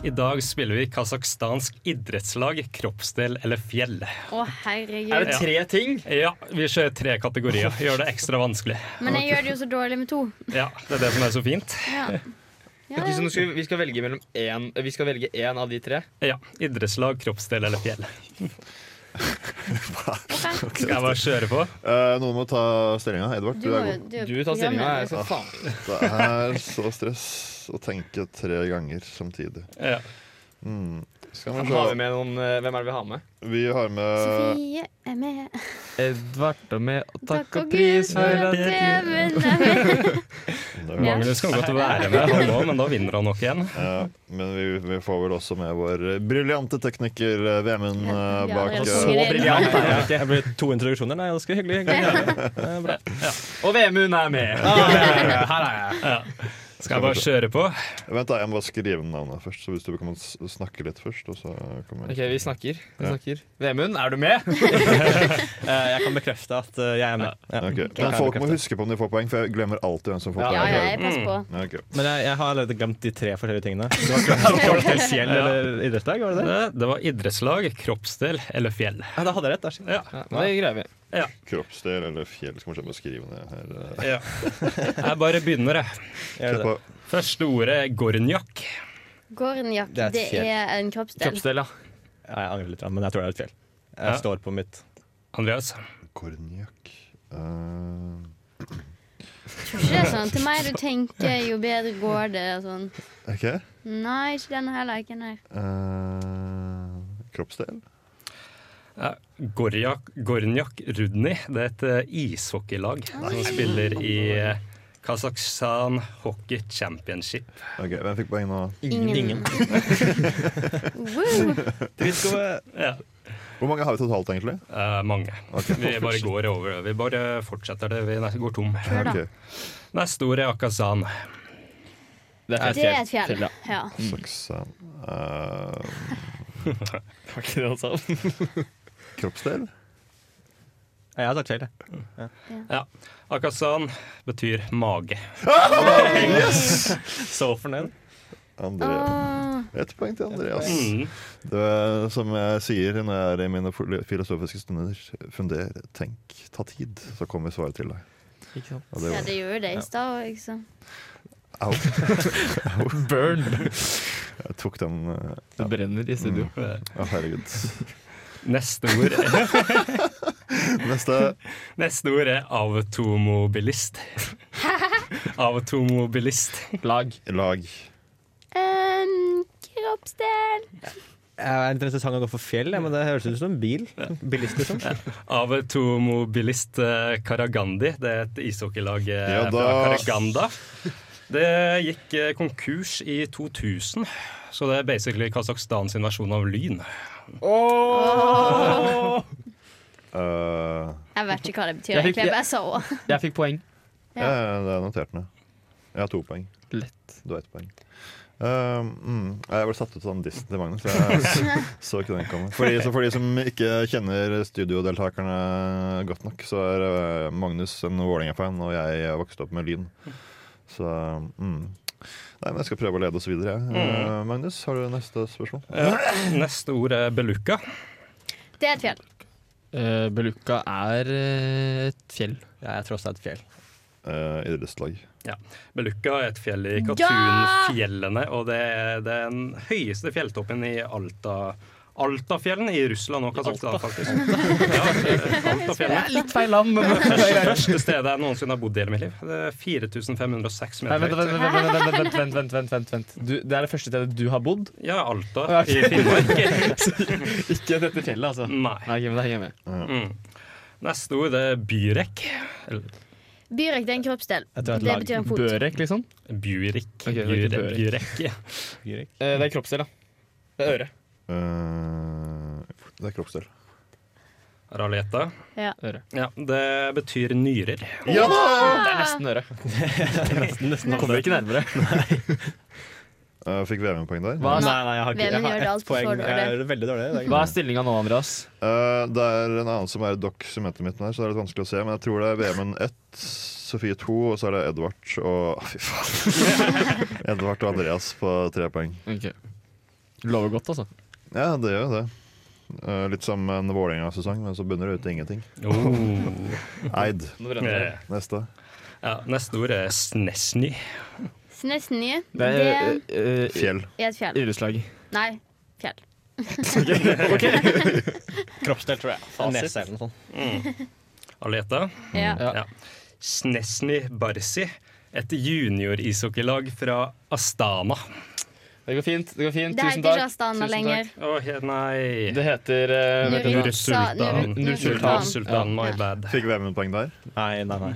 Speaker 7: I dag spiller vi kasakhstansk idrettslag, kroppsdel eller fjell.
Speaker 6: Å,
Speaker 5: Er
Speaker 6: herregud.
Speaker 5: det tre ting?
Speaker 7: Ja, vi ser tre kategorier. Gjør det ekstra vanskelig.
Speaker 6: Men jeg gjør det jo så dårlig med to.
Speaker 7: Ja, Det er det som er så fint.
Speaker 6: Ja. Ja,
Speaker 5: Ok, så
Speaker 6: ja.
Speaker 5: nå skal vi, vi skal velge mellom én Vi skal velge én av de tre.
Speaker 7: Ja, Idrettslag, kroppsdel eller fjell.
Speaker 6: Ok.
Speaker 7: Skal jeg bare kjøre på?
Speaker 4: Eh, noen må ta stillinga. Edvard,
Speaker 6: Du
Speaker 4: du
Speaker 6: må
Speaker 4: er
Speaker 6: jo
Speaker 4: god.
Speaker 6: du er
Speaker 5: Du tar stillinga.
Speaker 6: programleder.
Speaker 5: jeg skal faen.
Speaker 4: Det er så stress å tenke tre ganger samtidig.
Speaker 7: Ja.
Speaker 4: Skal vi
Speaker 5: Har vi
Speaker 4: se.
Speaker 5: med noen, eh, hvem er det vi har med?
Speaker 4: Vi har med
Speaker 6: Sofie er med.
Speaker 5: Edvard er med, og
Speaker 6: Takk og pris for at TV-en er med.
Speaker 4: Nei,
Speaker 6: Ja.
Speaker 7: Magnus kan godt være med, han òg, men da vinner han nok igjen.
Speaker 4: ja, Men vi, vi får vel også med vår briljante tekniker eh, Vemund eh,
Speaker 6: Ja,
Speaker 4: bak
Speaker 6: det er
Speaker 4: eh,
Speaker 6: så- briljant
Speaker 5: Ja.
Speaker 9: Jeg ble to introduksjoner. Nei, ganske hyggelig. hyggelig. Eh, Bra.
Speaker 5: Og Vemund er med! Her er jeg.
Speaker 7: Skal jeg bare kjøre på?
Speaker 4: Vent, da, jeg må bare skrive navnet først. Så hvis du kan s- snakke litt først, og så kommer
Speaker 5: Ok, vi snakker. Vi snakker. Vemund, er du med?
Speaker 9: Eh, Jeg kan bekrefte at eh, jeg er med. Ja.
Speaker 4: Ok, Men folk må huske på om de får poeng, for jeg glemmer alltid hvem som får
Speaker 5: Ja.
Speaker 6: Ja,
Speaker 4: poeng.
Speaker 6: ja, jeg passer på.
Speaker 4: Ja, ok.
Speaker 9: Men jeg, jeg har allerede glemt de tre forskjellige tingene. Det var kropp- kroppsdel, fjell eller idrettsdag, var det det?
Speaker 7: Det, Eh, det var idrettslag, kroppsdel eller fjell.
Speaker 9: Ja, da hadde jeg rett. Der.
Speaker 7: Ja,
Speaker 5: Ja, men det greier vi.
Speaker 4: Kroppsdel eller fjell, skal man skjønne å skrive ned her. eh.
Speaker 7: ja. Jeg bare begynner, jeg.
Speaker 9: Jeg gjør det.
Speaker 4: På
Speaker 7: Første ordet er gornjakk.
Speaker 6: Gornjakk,
Speaker 9: Det er et
Speaker 6: det
Speaker 9: fjell.
Speaker 6: er en kroppsdel.
Speaker 5: Kroppsdel, ja.
Speaker 9: Ja, jeg angrer litt, men jeg tror det er et fjell. Jeg
Speaker 7: Ja.
Speaker 9: står på mitt.
Speaker 7: Andreas.
Speaker 4: Kornjakk Eh,
Speaker 6: Tror ikke det er sånn. Til meg du tenker, jo bedre går det. Og sånn.
Speaker 4: OK.
Speaker 6: Nei, ikke denne her leken her.
Speaker 4: Eh, kroppsdel?
Speaker 7: Ja, Gorjak, Gornjak Rudny. Det er et eh, ishockeylag som spiller i eh, Kasakhstan Hockey Championship.
Speaker 4: Ok, Hvem fikk poeng nå?
Speaker 6: Ingen. Woo.
Speaker 9: Vi skal,
Speaker 7: Ja.
Speaker 4: Hvor mange har vi totalt, egentlig?
Speaker 7: Eh, mange. Vi bare går over. Vi bare fortsetter det. Vi nesten går tom.
Speaker 6: Hør da.
Speaker 4: Ok.
Speaker 7: Neste ord er Akazan.
Speaker 5: Det
Speaker 6: Det er et fjell.
Speaker 5: ja.
Speaker 6: Ja.
Speaker 4: Saksa- eh,
Speaker 5: Var ikke det han sa?
Speaker 4: kroppsdel?
Speaker 9: Ja, Jeg har sagt feil, jeg.
Speaker 7: Ja. Akazan betyr mage.
Speaker 9: Så fornøyd.
Speaker 4: André.
Speaker 6: Åh,
Speaker 4: Ett poeng til Andreas.
Speaker 7: Mm.
Speaker 4: Det er som jeg sier når jeg er i mine fol- filosofiske stunder, funder, tenk, ta tid, så kommer svaret til deg.
Speaker 5: Ikke sant?
Speaker 4: Og det
Speaker 6: ja,
Speaker 4: var
Speaker 6: det gjorde det i stad òg, ikke sant.
Speaker 4: Au. Au.
Speaker 5: Burn!
Speaker 4: Jeg tok den eh,
Speaker 5: Det brenner i studio.
Speaker 4: Å, herregud.
Speaker 7: Neste ord,
Speaker 4: Neste.
Speaker 7: neste ord er automobilist. Automobilist.
Speaker 5: Lag.
Speaker 4: Lag.
Speaker 6: Um, kroppsdel.
Speaker 9: Jeg er litt interessant å gå for fjell, jeg, men det høres ut som en bil. Bilist, liksom.
Speaker 7: Automobilist eh, Karagandi. Det er et ishockeylag eh,
Speaker 4: Ja,
Speaker 7: fra
Speaker 4: da.
Speaker 7: Karaganda. Det gikk eh, konkurs i 2000, så det er basically Kasakhstan sin versjon av lyn.
Speaker 4: Eh,
Speaker 6: Jeg vet ikke hva det betyr,
Speaker 5: Jeg fikk-
Speaker 6: egentlig. Jeg bare sa å.
Speaker 5: Jeg fikk poeng.
Speaker 6: Ja.
Speaker 4: jeg, det er notert ned. Jeg har to poeng.
Speaker 5: Lett.
Speaker 4: Du har ett poeng. Eh, mm, jeg ble satt ut av den dissen til Magnus. Jeg s- så ikke den komme. For de, så for de som ikke kjenner studiodeltakerne godt nok, så er eh, Magnus en Vålerenga-fan, og jeg vokste opp med Lyn. Så mm. Nei, men Jeg skal prøve å lede oss videre. jeg. Eh, Magnus, har du neste spørsmål?
Speaker 7: Neste ord er beluka.
Speaker 6: Det er et fjell.
Speaker 5: Uh, Beluca er eh, et fjell.
Speaker 9: Ja, jeg tror også det er et fjell.
Speaker 4: Eh, idrettslag.
Speaker 7: Beluka er et fjell i
Speaker 6: Ja!
Speaker 7: Katun-fjellene, og det er den høyeste fjelltoppen i Alta. Altafjellene i Russland og Kasakhstan, faktisk. Ja, Altafjellene.
Speaker 5: Litt feil land, men
Speaker 7: Det er det største stedet jeg noensinne har bodd i hele mitt liv. Det er 4506
Speaker 5: Nei,
Speaker 7: meter
Speaker 5: vent,
Speaker 7: høyt.
Speaker 5: vent, vent, vent, vent, vent, vent, vent, vent, vent, vent. Du, Det er det første stedet du har bodd?
Speaker 7: Ja, Alta
Speaker 5: Ja,
Speaker 7: i Finnmark.
Speaker 5: Ikke dette fjellet, altså. Nei,
Speaker 7: Nei.
Speaker 5: ok, men det henger med.
Speaker 7: Mm. Neste ord er Byrek. Eller
Speaker 6: Byrek, det er en kroppsdel.
Speaker 9: Jeg tror det er et
Speaker 6: Det
Speaker 9: lag.
Speaker 6: betyr en fot.
Speaker 5: Børek, liksom?
Speaker 7: Burik.
Speaker 5: Ok, det er ikke
Speaker 7: Bure- Byrek.
Speaker 9: Byrek.
Speaker 5: Eh, det er kroppsdel, da. Det er øre.
Speaker 4: Eh, det er kroppsdel.
Speaker 7: Ralieta.
Speaker 6: Ja.
Speaker 5: øre.
Speaker 7: Ja, det betyr nyrer.
Speaker 4: Ja da!
Speaker 5: Det er nesten øre.
Speaker 9: Nesten, nesten.
Speaker 5: Kommer ikke nærmere.
Speaker 4: Eh, fikk VM-poeng der.
Speaker 5: Hva,
Speaker 9: Nei, nei, jeg har ikke
Speaker 6: Vemund
Speaker 9: jeg
Speaker 6: gjør
Speaker 9: har
Speaker 6: det alt
Speaker 9: ett
Speaker 6: for
Speaker 9: poeng.
Speaker 6: dårlig.
Speaker 9: Jeg gjør det veldig dårlig. i dag.
Speaker 5: hva er stillinga nå, Andreas?
Speaker 4: Eh, det er en annen som er dokk som heter midten her, så det er litt vanskelig å se. Men jeg tror det er VM-en 1, Sofie 2, og så er det Edvard og Fy faen. Edvard og Andreas på tre poeng.
Speaker 5: Ok. Lover godt, altså.
Speaker 4: Ja, det gjør jo det. Eh, litt som en Vålerenga-sesong, men så bunner det ut i ingenting.
Speaker 5: Oh.
Speaker 4: Eid.
Speaker 5: Nå brenner det.
Speaker 7: Eh,
Speaker 4: Neste.
Speaker 7: Ja, neste ord er snesny.
Speaker 6: Snesny,
Speaker 5: Det
Speaker 6: det
Speaker 5: er
Speaker 6: er
Speaker 5: eh, eh,
Speaker 4: Fjell.
Speaker 6: et fjell.
Speaker 5: idrettslag.
Speaker 6: Nei, fjell.
Speaker 9: Kroppsdel, tror jeg. Nese eller noe sånt.
Speaker 7: Aleta.
Speaker 6: Ja.
Speaker 5: Ja.
Speaker 7: Ja. Snesny Barsi. Et juniorishockeylag fra Astana.
Speaker 5: Det går fint. det går fint.
Speaker 6: Det
Speaker 5: Tusen
Speaker 6: heter ikke
Speaker 5: takk.
Speaker 6: Astana
Speaker 5: Tusen
Speaker 6: lenger.
Speaker 7: Å, he- nei
Speaker 5: Det heter eh, vet du hva?
Speaker 6: Nurit.
Speaker 7: Nursultan.
Speaker 6: Nursultan.
Speaker 7: Nursultan,
Speaker 5: Nursultan.
Speaker 7: Sultan, my
Speaker 6: Ja.
Speaker 7: bad.
Speaker 4: Fikk VM-poeng der.
Speaker 9: Nei, nei, nei.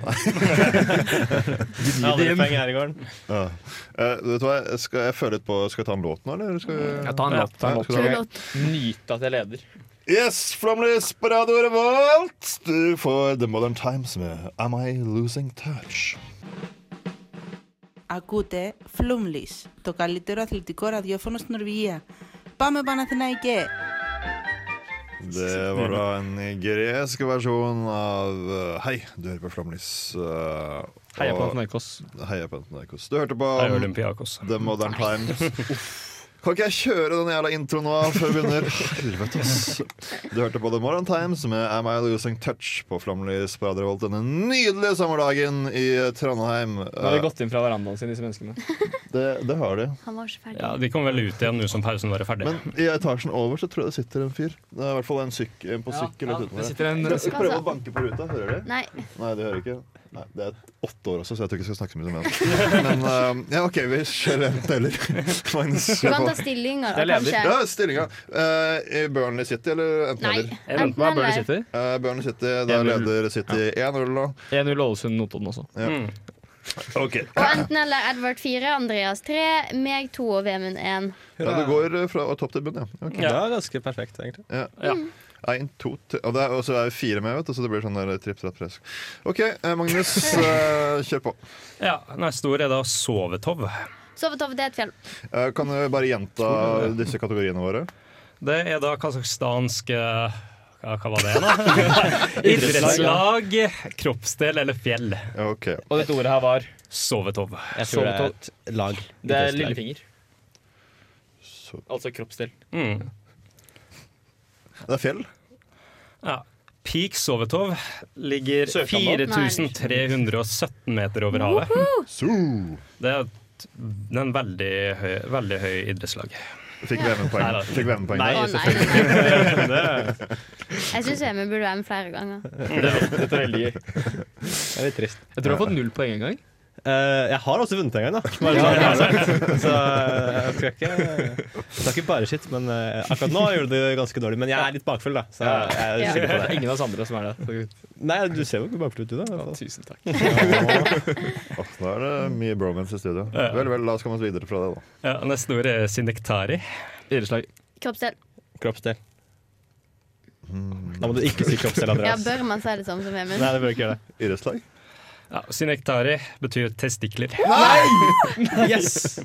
Speaker 9: Andre poeng her i gården.
Speaker 4: Ja. Eh, vet du hva, jeg skal jeg føle litt på Skal jeg ta en låt nå, eller? Skal vi...
Speaker 5: Ja, ta en låt. Ta en låt.
Speaker 4: Skal vi-
Speaker 5: Nyte at jeg leder.
Speaker 4: Yes, Flomlys på Radio Revolt! Du får The Modern Times med Am I Losing Touch?
Speaker 10: Ακούτε Flumlis, το καλύτερο αθλητικό ραδιόφωνο στην Νορβηγία. Πάμε Παναθηναϊκέ!
Speaker 4: Det var da en gresk versjon av eh, Hei, du hører på Flamlys. eh,
Speaker 5: Heia
Speaker 4: og-
Speaker 5: på Antonaikos.
Speaker 4: Heia på Antonaikos. Du hørte på
Speaker 7: Det er Olympiakos.
Speaker 4: The Modern Times. Uff. Kan ikke jeg kjøre den jævla introen nå før vi begynner? Helvete, ass. Du hørte på The Modern Times med Am I Losing Touch på Flamlys på Radio Revolt denne nydelige sommerdagen i Trondheim.
Speaker 5: Nå har
Speaker 4: Eh,
Speaker 5: de gått inn fra verandaen sin, disse menneskene.
Speaker 4: Det, det har de.
Speaker 6: Han var ikke ferdig.
Speaker 7: Ja, De kom vel ut igjen nå som pausen var ferdig.
Speaker 4: Men i etasjen over så tror jeg det sitter en fyr. Det er i hvert fall en, syk, en på sykkel. litt utenfor
Speaker 5: det
Speaker 4: her.
Speaker 5: sitter en
Speaker 4: Prøv prøver å banke på ruta, hører dere?
Speaker 6: Nei.
Speaker 4: Nei, det hører jeg ikke. Nei, det er åtte år også, så jeg tror ikke jeg skal snakke så mye med ham. Men eh, ja, OK, vi kjører en teller. Magnus,
Speaker 6: Du
Speaker 4: kjør
Speaker 6: kan ta
Speaker 4: på.
Speaker 6: stillinger,
Speaker 5: Det er
Speaker 6: da,
Speaker 5: ledig.
Speaker 6: kanskje.
Speaker 4: Ja, stillinga. Eh, i Burnley City eller enten
Speaker 6: Nei.
Speaker 4: eller?
Speaker 6: Enten
Speaker 5: Hva er Burnley
Speaker 6: eller.
Speaker 5: City?
Speaker 4: Eh, Burnley City, da
Speaker 5: 1-0.
Speaker 4: leder City 1-0 nå.
Speaker 5: 1-0 Ålesund, Notodden også.
Speaker 4: Okay.
Speaker 6: Og enten eller Edvard 4, Andreas 3, meg 2 og Vemund 1.
Speaker 4: Ja, det går eh, fra topp til bunn, ja. Ok.
Speaker 9: Det var ganske perfekt, egentlig.
Speaker 4: Ja.
Speaker 7: Ja.
Speaker 4: Én, to, tre Og det er- og så er vi fire med, vet du, så det blir sånn der tripp, trapp, press. OK, eh, Magnus, eh, kjør på.
Speaker 7: Ja, Neste ord er da sovetov.
Speaker 6: Sovetov, det er et fjell.
Speaker 4: Eh, Kan du bare gjenta disse kategoriene våre?
Speaker 7: Det er da kasakhstansk eh, ja, Hva var det, da? Idrettslag, kroppsdel eller fjell.
Speaker 4: OK.
Speaker 5: Og dette ordet her var
Speaker 7: Sovetov.
Speaker 9: Jeg tror det er
Speaker 5: Sovetov.
Speaker 9: et lag.
Speaker 5: Det er lillefinger.
Speaker 4: Så.
Speaker 5: Altså kroppsdel.
Speaker 7: Mm.
Speaker 4: Det er fjell.
Speaker 7: Ja. Peak Sovetov ligger
Speaker 5: Sørstranda?
Speaker 7: 4317 meter over havet.
Speaker 4: So.
Speaker 7: Det er et- det er en veldig høy, veldig høy idrettslag.
Speaker 4: Fikk VM-poeng. Fikk VM-poeng
Speaker 6: Å
Speaker 4: der.
Speaker 6: nei. Jeg syns Emil burde være med flere ganger.
Speaker 5: Dette er veldig gøy. Jeg
Speaker 9: Det er litt trist.
Speaker 5: tror jeg har fått null poeng en gang.
Speaker 9: Eh, jeg har også vunnet en gang, da. Bare sånn. så det er sagt. Så eh, jeg skal ikke Jeg skal ikke bare skitt, men eh, akkurat nå gjorde det ganske dårlig. Men jeg er litt bakfull, da. Så jeg, jeg skylder på
Speaker 5: Det er
Speaker 9: det.
Speaker 5: ingen av oss andre som er det.
Speaker 9: Nei, du ser jo ikke bakfull ut, du, da. i hvert fall.
Speaker 5: Tusen takk.
Speaker 4: Åh, Da er det mye bromance i studio. Vel, vel, la oss komme oss videre fra det, da.
Speaker 7: Ja, neste ord er sinektari.
Speaker 5: Idrettslag.
Speaker 6: Kroppsdel.
Speaker 9: Kroppsdel. Da må du ikke si kroppsdel,
Speaker 6: Ja,
Speaker 9: Andreas.
Speaker 6: bør man si det sånn som Emil?
Speaker 9: Nei, det bør du ikke gjøre det.
Speaker 4: Idrettslag?
Speaker 7: Ja, sinektari betyr testikler.
Speaker 9: Yes!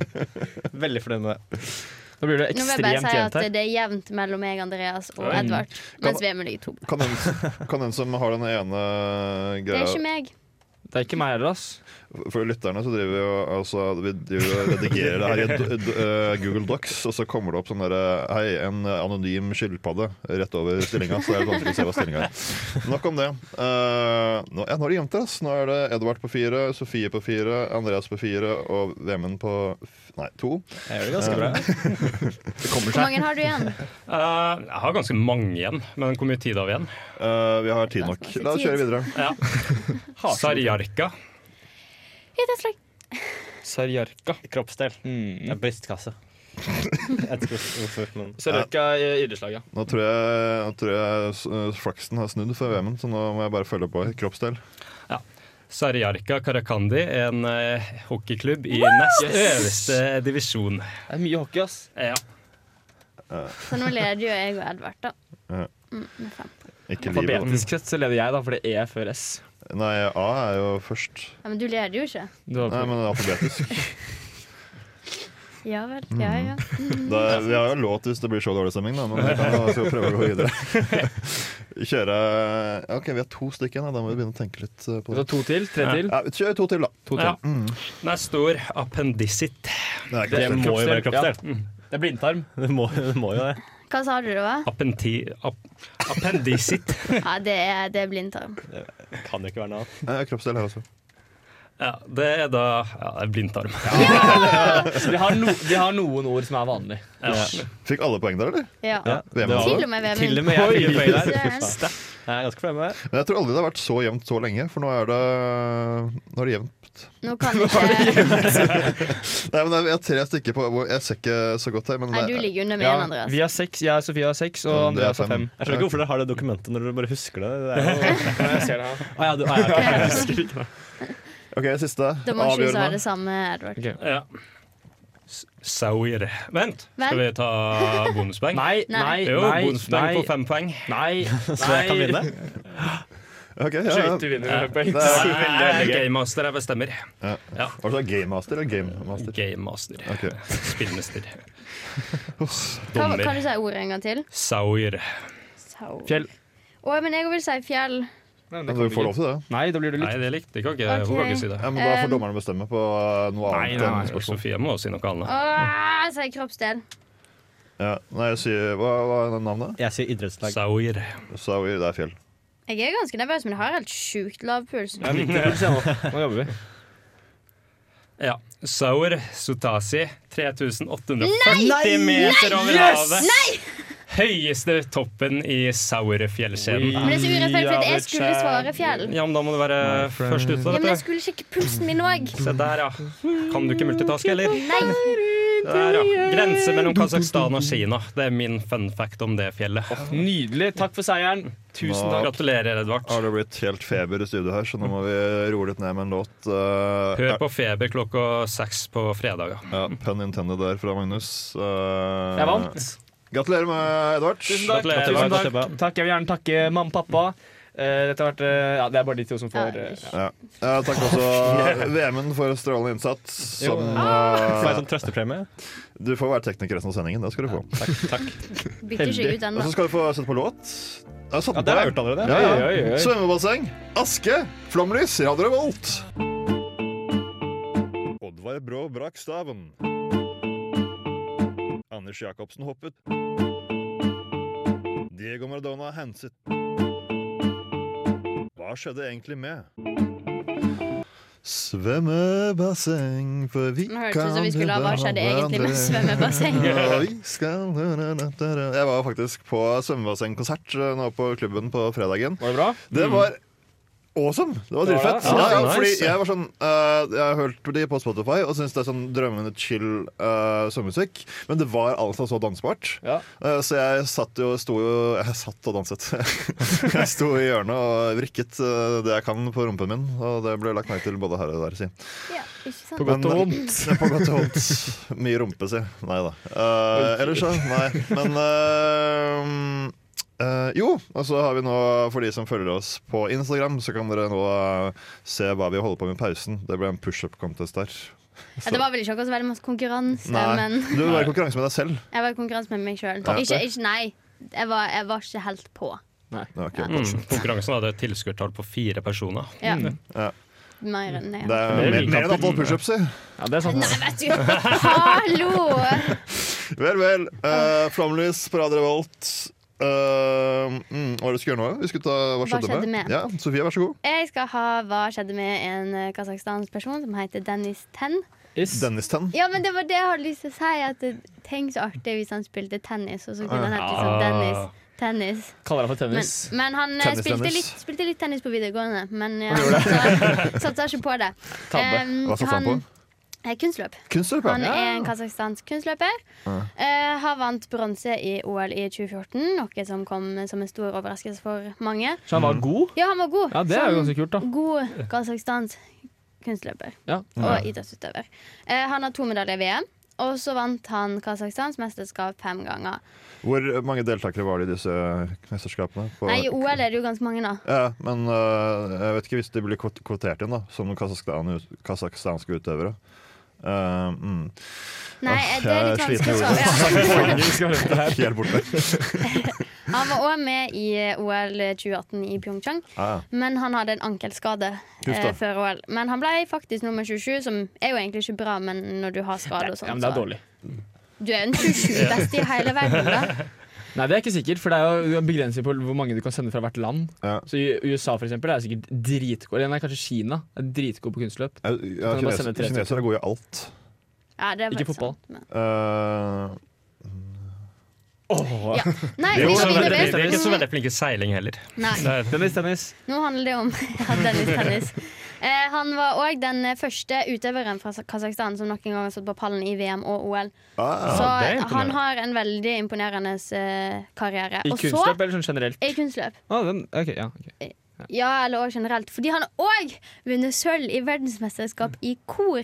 Speaker 9: Veldig fornøyd med det.
Speaker 5: Da blir det
Speaker 6: Nå vil jeg bare
Speaker 5: ekstremt
Speaker 6: si
Speaker 5: jevnt
Speaker 6: at
Speaker 5: her.
Speaker 6: det er jevnt mellom meg, Andreas og Edvard. Mens vi er med ligger to.
Speaker 4: Kan den, kan den som har den ene
Speaker 6: Det er
Speaker 4: greia
Speaker 6: ikke meg.
Speaker 5: Det er ikke meg heller, ass.
Speaker 4: For lytterne så driver vi jo altså, Vi driver jo og redigerer det her i d- d- eh, Google Docs, og så kommer det opp sånn derre Hei, en anonym skilpadde rett over stillinga, så er det vanskelig å se hva stillinga er. Nok om det. Eh, nå, ja, nå er det jevnt, ass. Nå er det Edvard på fire, Sofie på fire, Andreas på fire og Vemund på f nei, to.
Speaker 9: Jeg gjør det ganske bra.
Speaker 6: Hvor mange har du igjen?
Speaker 7: Eh, jeg har ganske mange igjen, men hvor mye tid har vi igjen?
Speaker 4: Eh, vi har tid nok. La oss kjøre videre.
Speaker 7: Ja. Sarjarka.
Speaker 6: Idrettslag.
Speaker 5: Sarjarka.
Speaker 9: Kroppsdel. Det er brystkasse. Jeg tror hvorfor, men
Speaker 5: Sarjarka i idrettslag, ja.
Speaker 4: Nå tror jeg, nå tror jeg eh, flaksen har snudd for Vemund, så nå må jeg bare følge på i kroppsdel.
Speaker 7: Sarjarka Karakandi er en eh, hockeyklubb i nest øverste divisjon.
Speaker 5: Det er mye hockey, ass.
Speaker 7: Ja.
Speaker 6: Så nå leder jo jeg og Edvard, da.
Speaker 4: Ja.
Speaker 6: Mm, med fem.
Speaker 4: Ikke livet.
Speaker 5: Alfabetisk sett så leder jeg, da, for det er E før S.
Speaker 4: Nei, A er jo først.
Speaker 6: Ja, men du leder jo ikke.
Speaker 5: Du har
Speaker 4: Nei, men alfabetisk.
Speaker 6: Ja vel. Ja, ja.
Speaker 4: Det, vi har jo låt hvis det blir så dårlig stemning, da, men vi kan jo skal prøve å gå videre. Kjøre ja, OK, vi har to stykker igjen, da. da må vi begynne å tenke litt eh, på
Speaker 5: Du
Speaker 4: det.
Speaker 5: har to til. Tre til.
Speaker 4: Ja, kjør to til, da.
Speaker 5: To til.
Speaker 7: ja. Neste ord appendisitt.
Speaker 4: Det er
Speaker 9: det
Speaker 4: ikke
Speaker 9: må jo være
Speaker 5: Kroppsdel,
Speaker 9: kroppsdel.
Speaker 5: Mm. Det er blindtarm.
Speaker 9: Det må, det må jo det.
Speaker 6: Hva sa du, da?
Speaker 7: Appenti... Ap appendisitt.
Speaker 9: Mm.
Speaker 6: Ja, det er, det er blindtarm.
Speaker 9: Kan jo ikke være noe annet.
Speaker 4: Eh, Kroppsdel her også.
Speaker 7: Ja, det er da ja, det er blindtarm.
Speaker 5: De har, no, de har noen ord som er vanlige.
Speaker 7: Ja.
Speaker 4: Fikk alle poeng der, eller?
Speaker 6: Ja.
Speaker 9: Ja,
Speaker 4: Hvem
Speaker 9: det var-
Speaker 6: Til og med Vemund.
Speaker 9: Til og med jeg fikk en
Speaker 5: Oi.
Speaker 9: poeng der.
Speaker 6: Søren.
Speaker 9: Fy faen. Jeg er ganske fornøyd med det.
Speaker 4: Men jeg tror aldri det har vært så jevnt så lenge, for nå er det, nå er det jevnt.
Speaker 6: Nå kan ikke
Speaker 4: Nei, men Vi har tre stykker på hvor- Jeg ser ikke så godt her, men
Speaker 6: Nei, du
Speaker 4: det-
Speaker 6: ligger under meg
Speaker 5: Ja,
Speaker 6: igjen, Andreas.
Speaker 5: vi har seks, jeg og Sofie har seks, og
Speaker 4: Ja, det er
Speaker 5: Andreas har
Speaker 4: fem.
Speaker 5: fem.
Speaker 9: Jeg skjønner ikke hvorfor dere har det dokumentet når dere bare husker det. det er jo...
Speaker 5: Jeg ser det her.
Speaker 9: Å ja, du, å, ja, ok.
Speaker 4: OK, siste.
Speaker 6: Da må ikke du si
Speaker 4: Avgjørende.
Speaker 6: det samme, Edvard.
Speaker 7: Ja. S- Sauer. Vent, skal vi ta bonuspoeng?
Speaker 5: Nei, nei, nei.
Speaker 7: Jo, bonuspoeng
Speaker 5: nei,
Speaker 7: på fem poeng.
Speaker 5: Nei,
Speaker 9: Jeg kan vinne.
Speaker 5: nei.
Speaker 4: Ok, ja,
Speaker 5: Så
Speaker 4: ja.
Speaker 5: vidt du vinner med poeng.
Speaker 4: Det er-
Speaker 7: Jeg er gamemaster, jeg bestemmer.
Speaker 4: Var det gamemaster eller gamemaster?
Speaker 7: Gamemaster.
Speaker 4: Ok.
Speaker 7: Spillmester.
Speaker 6: Kan, kan
Speaker 7: Dommer.
Speaker 6: du si ordet en gang til?
Speaker 7: Sauer.
Speaker 6: Sau.
Speaker 5: Fjell.
Speaker 6: Å, men jeg vil si fjell.
Speaker 5: Nei,
Speaker 4: Du får lov til det.
Speaker 5: Nei, da blir det
Speaker 7: Nei,
Speaker 5: litt.
Speaker 7: det likte jeg ikke. Hun kan ikke si det.
Speaker 4: Ja, men Da får
Speaker 6: Um,
Speaker 4: dommerne bestemme på uh, noe
Speaker 5: Nei,
Speaker 4: annet.
Speaker 5: nei,
Speaker 4: enn
Speaker 5: nei,
Speaker 4: spørsmål.
Speaker 7: Sofie må si noe annet.
Speaker 6: Åh, sier kroppsdel.
Speaker 4: Ja. Nei, jeg sier, hva, hva er navnet?
Speaker 9: Jeg sier idrettslag.
Speaker 7: Sauer.
Speaker 4: Sawi, det er fjell.
Speaker 6: Jeg er ganske nervøs, men jeg har helt sjukt lav puls.
Speaker 5: Det er viktig puls, jeg nå. Nå jobber vi.
Speaker 7: Ja. Saur Sutasi, 3850 meter over havet. Høyeste toppen i Saurefjellkjeden.
Speaker 5: Mm.
Speaker 6: Men det er så urettferdig, for at jeg skulle svare fjell.
Speaker 7: Ja, men da må du være først ute.
Speaker 6: Ja, men jeg
Speaker 7: vet du.
Speaker 6: skulle sjekke pulsen min òg.
Speaker 7: Se der, ja. Kan du ikke multitaske, eller?
Speaker 6: Nei.
Speaker 7: Der, ja. Grense mellom Kasakhstan og Kina. Det er min fun fact om det fjellet.
Speaker 5: Nydelig. Takk for seieren.
Speaker 7: Tusen takk. Gratulerer, Edvard.
Speaker 4: Har det blitt helt feber i studio her, så nå må vi roe litt ned med en låt. Eh,
Speaker 7: Hør på Feber klokka seks på fredager.
Speaker 4: Ja, Pun intended der fra Magnus. Eh,
Speaker 5: Jeg vant.
Speaker 4: Gratulerer med Edvard.
Speaker 5: Tusen takk.
Speaker 7: Gratulerer,
Speaker 5: Tusen
Speaker 9: Edvard.
Speaker 5: takk. takk. Jeg vil gjerne takke mamma og pappa. Eh, dette har vært, eh, ja, det er bare de to som får eh, ja.
Speaker 4: Ja. Eh, takk også VM-en for strålende innsats. Som,
Speaker 9: Får jeg
Speaker 4: eh,
Speaker 9: sånn trøstepremie?
Speaker 4: du får være tekniker resten av sendingen. Det skal du få.
Speaker 9: Takk. takk.
Speaker 6: Bytter ikke ut den,
Speaker 4: Og så
Speaker 6: da.
Speaker 4: skal du få sette på låt. Jeg har satt
Speaker 9: Ja,
Speaker 4: den
Speaker 9: det har
Speaker 4: på,
Speaker 9: jeg gjort allerede.
Speaker 4: Ja, ja.
Speaker 5: Oi, oi, oi.
Speaker 4: Svømmebasseng, aske, flomlys, Radio Revolt. Oddvar Brå brakk staven. Anders Jacobsen hoppet. Diego Maradona henset. Hva skjedde egentlig med Svømmebasseng, for vi
Speaker 6: Nå hørtes det ut som vi skulle ha Hva skjedde egentlig med svømmebasseng?
Speaker 4: ja, vi skal Jeg var faktisk på svømmebassengkonsert eh, nå på klubben på fredagen.
Speaker 5: Var det bra?
Speaker 4: Det var awesome! Det var
Speaker 5: Mm. Det var
Speaker 4: dritfett.
Speaker 5: det?
Speaker 4: Ja, ja,
Speaker 7: Nice.
Speaker 4: fordi jeg var sånn eh, Jeg hørte de på Spotify og syntes det er sånn drømmende chill uh, svømmemusikk. Men det var altså så dansbart.
Speaker 5: Ja.
Speaker 4: Eh, så jeg satt jo sto jo Jeg satt og danset. jeg sto i hjørnet og vrikket eh, det jeg kan på rumpen min, og det ble lagt merke til både her og der. Si.
Speaker 6: Ja, ikke sant?
Speaker 5: På godt
Speaker 4: Men-
Speaker 5: og vondt.
Speaker 4: Det er på godt og vondt. Mye rumpe, si. Nei da. Uh, ellers så, nei. Men eh, eh, Jo, og så har vi nå, for de som følger oss på Instagram, så kan dere nå eh, se hva vi holder på med i pausen. Det ble en pushup-contest der.
Speaker 6: Ja, det var vel ikke akkurat så veldig masse konkurranse,
Speaker 4: Nei,
Speaker 6: men
Speaker 4: Du vil være i konkurranse med deg selv.
Speaker 6: jeg var i konkurranse med meg sjøl.
Speaker 4: Ja.
Speaker 6: Ikke, ikke nei. Jeg var, jeg var ikke helt på.
Speaker 4: Ja, ok.
Speaker 7: Mm. Konkurransen hadde et tilskuertall på fire personer.
Speaker 6: Ja.
Speaker 4: Mm. Ja.
Speaker 6: Mer enn det.
Speaker 4: Det
Speaker 6: ja.
Speaker 4: er mer, mer enn antall pushups, si.
Speaker 5: Ja, det er sant.
Speaker 6: Nei, vet du Hallo!
Speaker 4: Vel, vel. Eh, Flomlys, Parade Revolt. Eh, mm, hva er det vi skulle gjøre nå? Vi skulle ta Hva skjedde,
Speaker 6: skjedde
Speaker 4: med?
Speaker 6: med?
Speaker 4: Ja, Sofie, vær så god.
Speaker 6: Jeg skal ha Hva skjedde med en eh, kasakhstansk person som heter Dennis Ten.
Speaker 5: Is.
Speaker 4: Dennis Tenn.
Speaker 6: Ja, men det var det jeg hadde lyst til å si. At det, tenk så artig hvis han spilte tennis, og så kunne han hett liksom
Speaker 7: Ah.
Speaker 6: Dennis. Tennis.
Speaker 5: Kaller han for
Speaker 6: Men,
Speaker 5: tennis.
Speaker 6: men han eh,
Speaker 4: Tennis,
Speaker 6: spilte,
Speaker 4: Dennis.
Speaker 6: litt, spilte litt tennis på videregående, men ja, satsa, satsa ikke på det.
Speaker 5: Tabbe.
Speaker 6: Um,
Speaker 4: Hva satsa han på?
Speaker 6: eh, Kunstløp.
Speaker 4: Kunstløp,
Speaker 6: Han
Speaker 4: ja.
Speaker 6: er en kasakhstansk kunstløper. Eh, har vant bronse i OL i 2014, noe som kom som en stor overraskelse for mange.
Speaker 5: Så han var god?
Speaker 6: Ja, han var god.
Speaker 5: Ja, det er jo
Speaker 6: Som
Speaker 5: ganske kult, da.
Speaker 6: God kasakhstansk kunstløper
Speaker 5: Ja.
Speaker 6: og idrettsutøver. Eh, han har to medaljer i VM, og så vant han Kasakhstans mesterskap fem ganger.
Speaker 4: Hvor mange deltakere var det i disse mesterskapene? På-
Speaker 6: Nei, i OL er det jo ganske mange, da.
Speaker 4: Ja, men øh, jeg vet ikke hvis de blir kvot- kvotert inn da som kasakhstan- kasakhstanske utøvere. Eh, mm.
Speaker 6: Nei,
Speaker 4: Åh,
Speaker 6: eh, det er litt
Speaker 4: jeg er
Speaker 6: vanskelig å
Speaker 4: sliten i
Speaker 6: svare. Ja.
Speaker 4: Helt borte.
Speaker 6: Han var òg med i eh, OL 2018 i Pyeongchang,
Speaker 4: Ja, ja.
Speaker 6: men han hadde en ankelskade
Speaker 4: Huff
Speaker 6: eh,
Speaker 4: da.
Speaker 6: før OL. Men han ble faktisk nummer 27, som er jo egentlig ikke bra, men når du har skade og sånn,
Speaker 5: Ja, men det er dårlig.
Speaker 6: så Du er den 27 beste i hele verden, da.
Speaker 5: Nei, det er ikke sikkert, for det er jo en begrensning på hvor mange du kan sende fra hvert land.
Speaker 4: Ja.
Speaker 5: Så i USA for eksempel, er sikkert dritgod Eller nei, kanskje Kina er dritgod på kunstløp.
Speaker 4: Ja,
Speaker 5: Kan du bare sende
Speaker 4: kineser,
Speaker 5: tre
Speaker 4: kinesere er gode i alt.
Speaker 6: Ja, det er
Speaker 5: Ikke
Speaker 6: faktisk
Speaker 5: fotball.
Speaker 6: sant, men-
Speaker 4: Eh,
Speaker 5: Åh.
Speaker 6: Ja. Nei,
Speaker 7: Vi er
Speaker 6: vi går
Speaker 7: ikke så
Speaker 6: videre.
Speaker 7: veldig- vi er ikke så veldig flinke i seiling heller.
Speaker 6: Nei.
Speaker 7: Det er
Speaker 5: Tennis, tennis.
Speaker 6: Nå handler det om ja, Dennis Tennis. Eh, han var òg den første utøveren fra Kasakhstan som noen gang har stått på pallen i VM og OL.
Speaker 4: ah,
Speaker 6: Så
Speaker 7: det er imponerende.
Speaker 6: han har en veldig imponerende eh, karriere.
Speaker 5: I
Speaker 6: Og så- Eh.
Speaker 5: kunstløp eller sånn generelt?
Speaker 6: I kunstløp.
Speaker 5: Ah, den, ok, ja, ok.
Speaker 6: Ja, eller også generelt. Fordi han har òg vunnet sølv i verdensmesterskap i kor.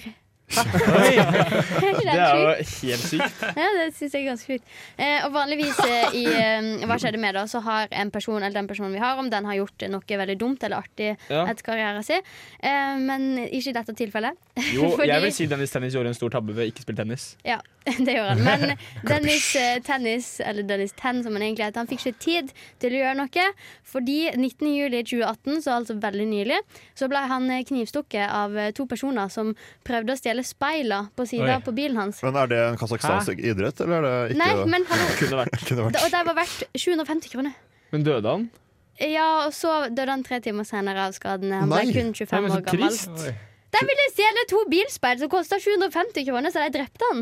Speaker 6: er ikke
Speaker 5: Det er
Speaker 6: sjukt?
Speaker 5: jo helt sykt.
Speaker 6: Ja, det syns jeg er ganske sjukt. Eh, og vanligvis eh, i eh, Hva skjedde med, da? Så har en person, eller den personen vi har, om den har gjort noe veldig dumt eller artig
Speaker 5: Ja.
Speaker 6: etter karrieren sin. Eh, men ikke i dette tilfellet.
Speaker 5: Jo, jeg
Speaker 6: Fordi-
Speaker 5: vil si Dennis Tennis gjorde en stor tabbe ved ikke spille tennis.
Speaker 6: Ja, det gjør han. Men Dennis eh, Tennis, eller Dennis Ten som han egentlig heter, han fikk ikke tid til å gjøre noe. Fordi 19.07.2018, så altså veldig nylig, så ble han eh, knivstukket av eh, to personer som prøvde å stjele speila på sida
Speaker 7: Oi.
Speaker 6: på bilen hans.
Speaker 4: men er det en kasakhstansk idrett, eller er det ikke
Speaker 6: Nei,
Speaker 4: det?
Speaker 6: men hallo.
Speaker 5: Kunne vært.
Speaker 4: Kunne
Speaker 6: Da-
Speaker 4: vært.
Speaker 6: Og de var verdt 750 kroner.
Speaker 5: Men døde han?
Speaker 6: Ja, og så døde han tre timer senere av skadene. Han ble
Speaker 4: Nei.
Speaker 6: kun
Speaker 5: Nei,
Speaker 6: 25
Speaker 5: men så
Speaker 6: år gammel.
Speaker 5: sånn trist.
Speaker 6: De ville stjele to bilspeil som kosta 750 kroner, så de drepte han.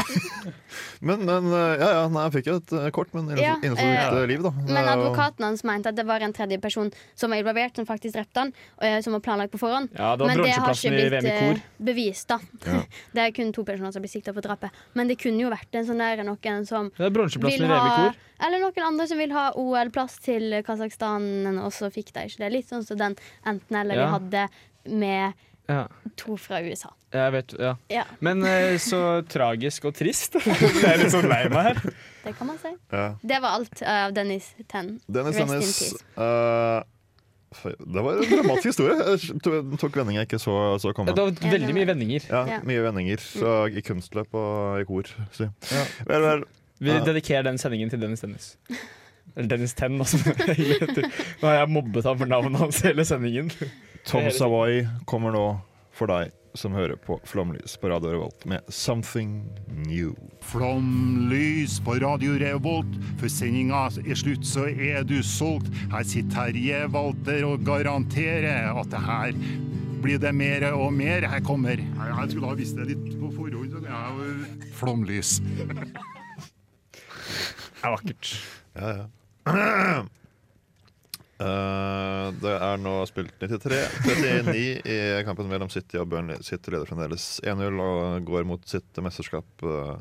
Speaker 4: Men, men eh, ja, ja, nei, jeg fikk jo et eh, kort, men
Speaker 6: Ja,
Speaker 4: innenfor
Speaker 6: eh,
Speaker 4: mitt eh, liv, da.
Speaker 6: Men
Speaker 4: Eh,
Speaker 6: advokaten hans mente at det var en tredje person som var involvert, som faktisk drepte han, og eh, som var planlagt på forhånd.
Speaker 5: Ja, det var
Speaker 6: Men det har ikke
Speaker 5: bronseplassen i
Speaker 6: blitt
Speaker 5: VM i kor.
Speaker 6: eh, bevist, da. Det er kun to personer som blir sikta for drapet. Men det kunne jo vært en sånn der noen som
Speaker 5: Det er
Speaker 6: vil
Speaker 5: bronseplassen i
Speaker 6: ha
Speaker 5: VM i kor.
Speaker 6: Eller noen andre som vil ha OL-plass til Kasakhstan, og så fikk de ikke det. Litt sånn som den enten-eller
Speaker 5: Ja.
Speaker 6: vi hadde med
Speaker 5: Ja.
Speaker 6: to fra USA.
Speaker 5: Jeg vet, ja.
Speaker 6: Ja,
Speaker 5: Men eh, så tragisk og trist. Jeg er litt sånn lei meg her.
Speaker 6: det kan man si.
Speaker 4: Ja.
Speaker 6: Det var alt av Dennis Ten.
Speaker 4: Dennis
Speaker 6: Rest in
Speaker 4: Dennis
Speaker 6: peace.
Speaker 4: eh, fy, Det var en dramatisk historie. Jeg to- tok vendinger jeg ikke så, så komme.
Speaker 5: Det var veldig mye vendinger.
Speaker 4: Ja,
Speaker 6: Ja. Mm.
Speaker 4: Mye vendinger så i kunstløp og i kor. Si. Vel, vel.
Speaker 5: Vi dedikerer den sendingen til Dennis Dennis. Eller Dennis Ten, altså. Nå har jeg mobbet ham for navnet hans hele sendingen.
Speaker 4: Tom Savoy kommer nå for deg som hører på Flomlys på Radio Revolt med 'Something New'.
Speaker 1: Flomlys på Radio Revolt. Før sendinga er slutt, så er du solgt. Her sitter Terje Walter og garanterer at det her blir det mer og mer. Her kommer Jeg skulle ha visst det litt på forhånd. så kan jeg jo- Flomlys.
Speaker 4: Ja, ja. Eh, det er nå spilt 93-39 i kampen mellom City og Burnley. City leder fremdeles 1-0 og går mot sitt mesterskap. eh.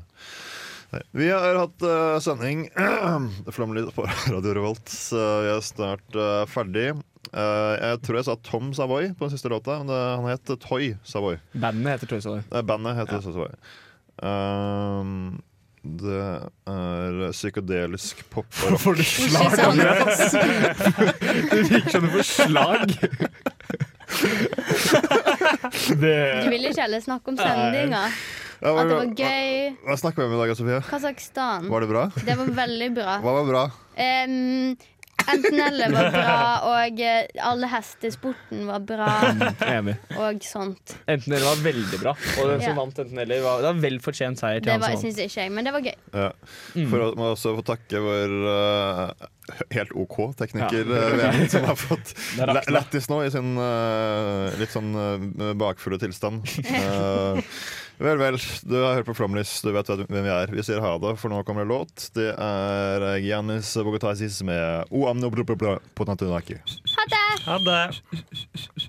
Speaker 4: Nei. Vi har hatt eh, sending Flomlyd på Radio Revolt. så vi er snart eh, ferdig. Eh, jeg tror jeg sa Tom Savoy på den siste låta, men det, han het Toy Savoy.
Speaker 5: Bandet heter Toy Story.
Speaker 4: Eh, Bandet heter ja. Savoy. Ehm, det er psykedelisk pop og rock.
Speaker 6: Ikke sant?
Speaker 5: Slag.
Speaker 6: Du ville ikke heller snakke om sendinga.
Speaker 4: Ja,
Speaker 6: At
Speaker 4: hva-
Speaker 6: det var gøy.
Speaker 4: Hva snakka vi om i dag, Sofie?
Speaker 6: Kasakhstan.
Speaker 4: Var det bra?
Speaker 6: Det var veldig bra.
Speaker 4: Hva var bra?
Speaker 6: Um, Enten-eller var bra, og eh, alle hestesporten var bra,
Speaker 5: Enig.
Speaker 6: og sånt.
Speaker 5: Enten eller var veldig bra. Og den som
Speaker 6: Ja.
Speaker 5: vant enten eller, var, det var vel fortjent seier til
Speaker 6: Det
Speaker 5: han
Speaker 6: var,
Speaker 5: som vant.
Speaker 6: syns ikke jeg, men det var gøy.
Speaker 4: Ja. For å må også få takke vår eh, helt OK tekniker eh, Vemund, som har fått la- lættis nå i sin eh, litt sånn eh, bakfulle tilstand. Eh, vel, vel. Du har hørt på Flomlys, du vet hvem vi er. Vi sier ha det, for nå kommer det låt. Det er eh, Giannis Bogotasis med O amno blubblubla på Natunaki.
Speaker 7: Ha det.